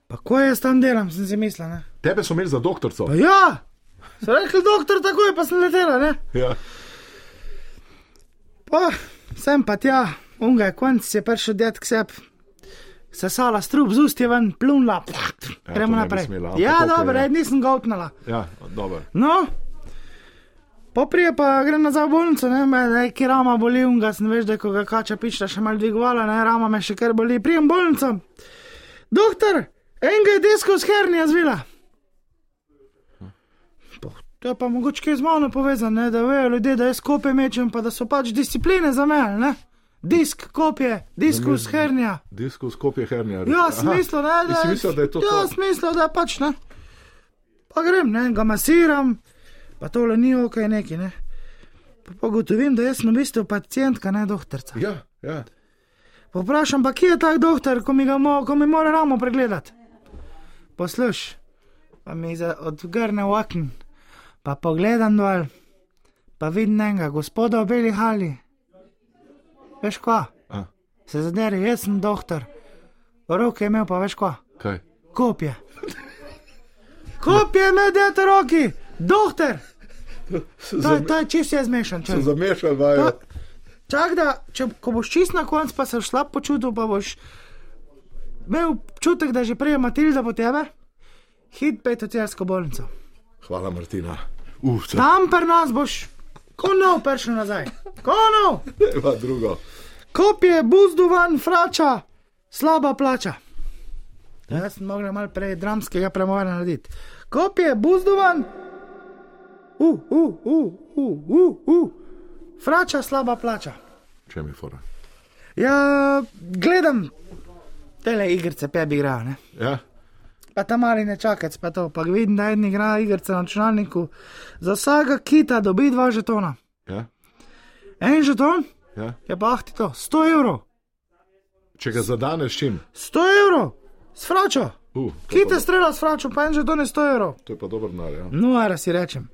Speaker 13: Pa ko jaz tam delam, sem si mislila, ne.
Speaker 2: Tebe so imeli za doktorico.
Speaker 13: Pa ja, sem rekla, doktor, takoj pa sem letela, ne.
Speaker 2: Ja.
Speaker 13: Pa sem pa tja, unga je konc, je prišel ded k sebi. Sesala strup z usti ven, plunla,
Speaker 2: Ja,
Speaker 13: gremo
Speaker 2: to ne bi
Speaker 13: naprej.
Speaker 2: smela, ampak
Speaker 13: Ja,
Speaker 2: okej,
Speaker 13: dobro,
Speaker 2: ja.
Speaker 13: ej, nisem ga opnala.
Speaker 2: ja, dobro.
Speaker 13: No, Poprije pa grem nazaj v bolnico, ne, me, da je ki rama boli, unga sem veš, da ko ga kača pičla še malo dvigovala, ne, rama me še kar boli, prijem v bolnico. Doktor, enega je desko s hernija zvila. Pa, To je pa mogoče kaj z mano povezano, ne, da vejo ljudje, da jaz kope mečem, pa da so pač discipline za me, ne. Disk kopje, diskus hernija.
Speaker 2: Diskus kopje hernija. res.
Speaker 13: Ja, sem
Speaker 2: Aha,
Speaker 13: mislil, ne, da,
Speaker 2: si mislil, da je to.
Speaker 13: Ja,
Speaker 2: to?
Speaker 13: sem mislil, da pač ne. Pa grem, ne, ga masiram, pa tole ni ok, neki, ne. Pa pogotovim, da jaz sem v bistvu pacijentka, ne doktorca.
Speaker 2: Ja, ja.
Speaker 13: Pa vprašam, pa kje je ta doktor, ko mi, ga mo, ko mi mora ramo pregledati. Posluš, pa mi za- odgrne okn, pa pogledam dol, pa vidim enega gospoda v beli hali. Veš kva?
Speaker 2: A.
Speaker 13: Se zaderi, jaz sem doktor. Roke je imel pa veš kva?
Speaker 2: Kaj?
Speaker 13: Kopje. Kopje me dete roki, doktor. To, je- to je čisto jaz zmešan.
Speaker 2: Se
Speaker 13: čez.
Speaker 2: zamešal, vajo.
Speaker 13: To- Čak da, če, ko boš čist na koncu, pa se šla počutil, pa boš imel občutek, da je že prej je Matilda po tebe, hit pet v celsko bolnico.
Speaker 2: Hvala, Martina. Uf, se
Speaker 13: Tam pri nas boš, konov pršel nazaj, konov,
Speaker 2: pa drugo.
Speaker 13: kopje, buzduvan, frača, slaba plača. Jaz sem mogla malo prej dramskega premovanja narediti. Kopje, buzduvan, uh, uh, uh, uh, uh, uh, frača, slaba plača.
Speaker 2: Če mi fora.
Speaker 13: Ja, gledam tele igrice, pebi igra. Ne?
Speaker 2: Ja,
Speaker 13: Pa tam ali ne čakaj, pa to. Pa vidim, da en igra igrice na računalniku. Za vsakega kita dobi dva žetona.
Speaker 2: ja,
Speaker 13: En žeton
Speaker 2: ja.
Speaker 13: je pa ah ti to, 100 evrov,
Speaker 2: Če ga zadaneš s čim?
Speaker 13: 100 evrov, s fračo.
Speaker 2: Uh, to,
Speaker 13: Kite
Speaker 2: pa,
Speaker 13: strela s fračo, pa en žeton je 100 evrov.
Speaker 2: to je pa dober nar, ja.
Speaker 13: No, ara si rečem.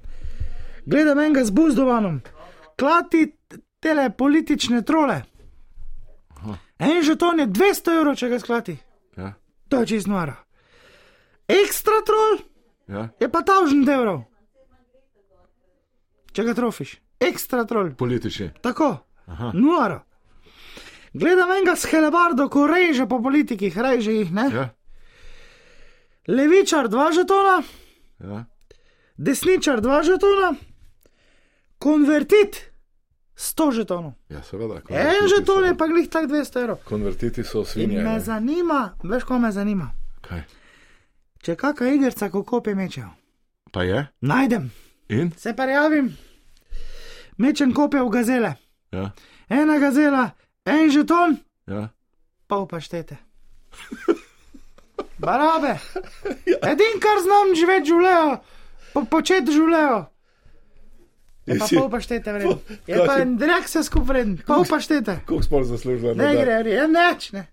Speaker 13: Gledam enega z buzdovanom, klati tele politične trole. En žeton je 200 evrov, če ga sklati.
Speaker 2: Ja,
Speaker 13: To je čist nora. Ekstra trol
Speaker 2: ja.
Speaker 13: je pa tavžen evrov. Če ga trofiš, ekstra trol.
Speaker 2: Politični.
Speaker 13: Tako,
Speaker 2: Aha.
Speaker 13: noro. Gledam enega s helebardo, ko reže po politikih, reže jih, ne?
Speaker 2: Ja.
Speaker 13: Levičar dva žetona,
Speaker 2: Ja.
Speaker 13: desničar dva žetona, konvertit sto žetonov.
Speaker 2: Ja, seveda.
Speaker 13: En
Speaker 2: konvertiti
Speaker 13: žeton
Speaker 2: so-
Speaker 13: je pa glih tak 200 evrov.
Speaker 2: Konvertiti so
Speaker 13: In
Speaker 2: svinje.
Speaker 13: me
Speaker 2: ne.
Speaker 13: zanima, veš, ko me zanima.
Speaker 2: Kaj?
Speaker 13: Če kakšna igrica, kako pe mečejo.
Speaker 2: Pa je?
Speaker 13: Najdem.
Speaker 2: In?
Speaker 13: Se pa javim, mečem kope v gazele.
Speaker 2: Ja,
Speaker 13: Ena gazela, en žeton,
Speaker 2: ja.
Speaker 13: pol [laughs] paštete. Barabe. Edin, kar znam živeti življenje, po, početi življenje. Je pa
Speaker 2: Jesi-
Speaker 13: pol paštete vreden. Je
Speaker 2: Kaj
Speaker 13: pa
Speaker 2: si-
Speaker 13: en drek se skup vreden, pol paštete.
Speaker 2: Koliko smo zaslužili?
Speaker 13: Ne gre, je neč, ne.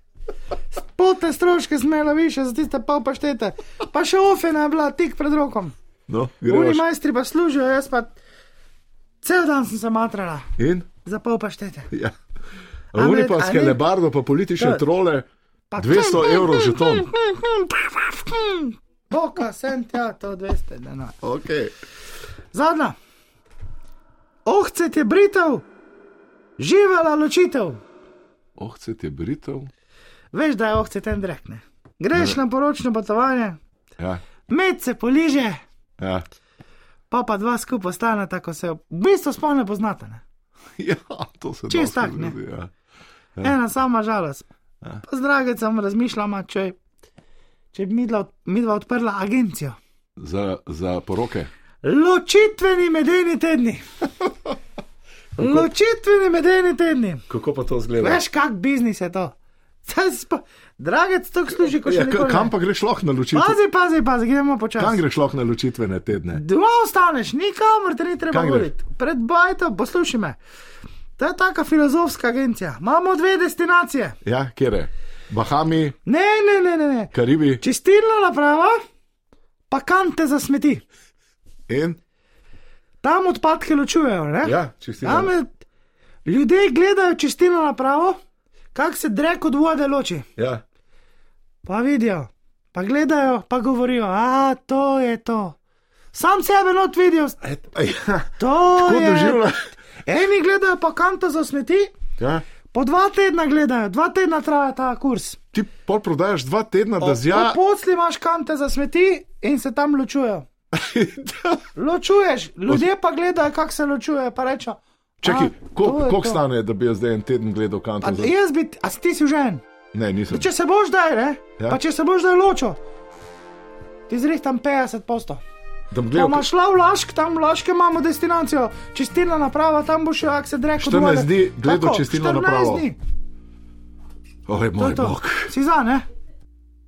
Speaker 13: Potne stroške smela više za tiste pol paštete. Pa še ofena je bila tik pred rokom.
Speaker 2: No,
Speaker 13: Oni
Speaker 2: greš.
Speaker 13: majstri pa služijo, jaz pa cel dan sem se matrala,
Speaker 2: In?
Speaker 13: za pol paštete.
Speaker 2: Ja.
Speaker 13: A
Speaker 2: Oni
Speaker 13: med- a
Speaker 2: pa
Speaker 13: ne- hm,
Speaker 2: skelebardo, pa politične
Speaker 13: To-
Speaker 2: trole, 200 evrov žeton.
Speaker 13: hm, Boka sem tja, to 200 denarjev.
Speaker 2: Okay.
Speaker 13: Zadnja. Ohcet je Britov, živela ločitev.
Speaker 2: Ohcet Oh, je Britov.
Speaker 13: Veš, da je ohcet en drekne. Greš na poročno potovanje,
Speaker 2: Ja,
Speaker 13: med se poliže,
Speaker 2: ja.
Speaker 13: pa pa dva skupaj stane, tako se v bistvu sploh ne poznate. Ne?
Speaker 2: ja to se
Speaker 13: Čist
Speaker 2: dosti
Speaker 13: tak, ne.
Speaker 2: zgodi, Ja. Ja.
Speaker 13: Ena sama žalost.
Speaker 2: Ja.
Speaker 13: Pa z dragicam razmišljam, če, če bi midla, midva odprla agencijo.
Speaker 2: Za, za poroke.
Speaker 13: Ločitveni medeni
Speaker 2: [laughs]
Speaker 13: tedni. Ločitveni medeni tedni.
Speaker 2: Kako pa to zgleda?
Speaker 13: Veš, kak biznis je to? Saj si pa- Dragec, to služi kot še
Speaker 2: ja,
Speaker 13: nekaj.
Speaker 2: ka- kam pa greš lahko na ločitve?
Speaker 13: Pazi, pazi, pazi, gremo počasi.
Speaker 2: Kam greš lahko na ločitvene tedne?
Speaker 13: Doma ostaneš, nikamor te ni treba
Speaker 2: Kam greš?
Speaker 13: voditi. Pred bajto, poslušaj me. To je taka filozofska agencija. Imamo dve destinacije.
Speaker 2: Ja, kje je? Bahami,
Speaker 13: Ne, ne, ne, ne. ne.
Speaker 2: Karibi
Speaker 13: Čistilna naprava, pa kante za smeti.
Speaker 2: in.
Speaker 13: Tam odpadke ločujejo. Ne?
Speaker 2: Ja, čistilna.
Speaker 13: Tam je, ljudje gledajo čistilno napravo, kak se drek od vode loči.
Speaker 2: Ja,
Speaker 13: Pa vidijo, pa gledajo, pa govorijo, a to je to. Sam sebe not vidijo.
Speaker 2: ja.
Speaker 13: To
Speaker 2: Tako
Speaker 13: je
Speaker 2: doživlja.
Speaker 13: Eni gledajo pa kanto za smeti,
Speaker 2: ja.
Speaker 13: po dva tedna gledajo, dva tedna traja ta kurs.
Speaker 2: Ti pol prodajaš dva tedna, da zja. [laughs]
Speaker 13: Posli imaš kante za smeti in se tam ločujejo. Ločuješ, ljudje pa gledajo, kako se ločuje, pa rečejo.
Speaker 2: Čakaj,
Speaker 13: "A, to
Speaker 2: koliko
Speaker 13: je
Speaker 2: kol
Speaker 13: to."
Speaker 2: stane, da bi jaz zdaj en teden gledal
Speaker 13: A,
Speaker 2: kanto? Za...
Speaker 13: jaz bi, a si ti si žen?
Speaker 2: Ne, nisem.
Speaker 13: Če se boš daj, ne?
Speaker 2: Ja.
Speaker 13: Ja. Pa če se boš daj ločil, ti zrihtam 50 posto.
Speaker 2: Da bi
Speaker 13: Če
Speaker 2: gledal
Speaker 13: boš šla v Lašk, tam v Laške imamo destinacijo, čistilna naprava, tam boš jak se dreka.
Speaker 2: 14 dni gledal čistilno napravo.
Speaker 13: Dni.
Speaker 2: Oj,
Speaker 13: To
Speaker 2: moj
Speaker 13: je to.
Speaker 2: bog.
Speaker 13: Si za, ne?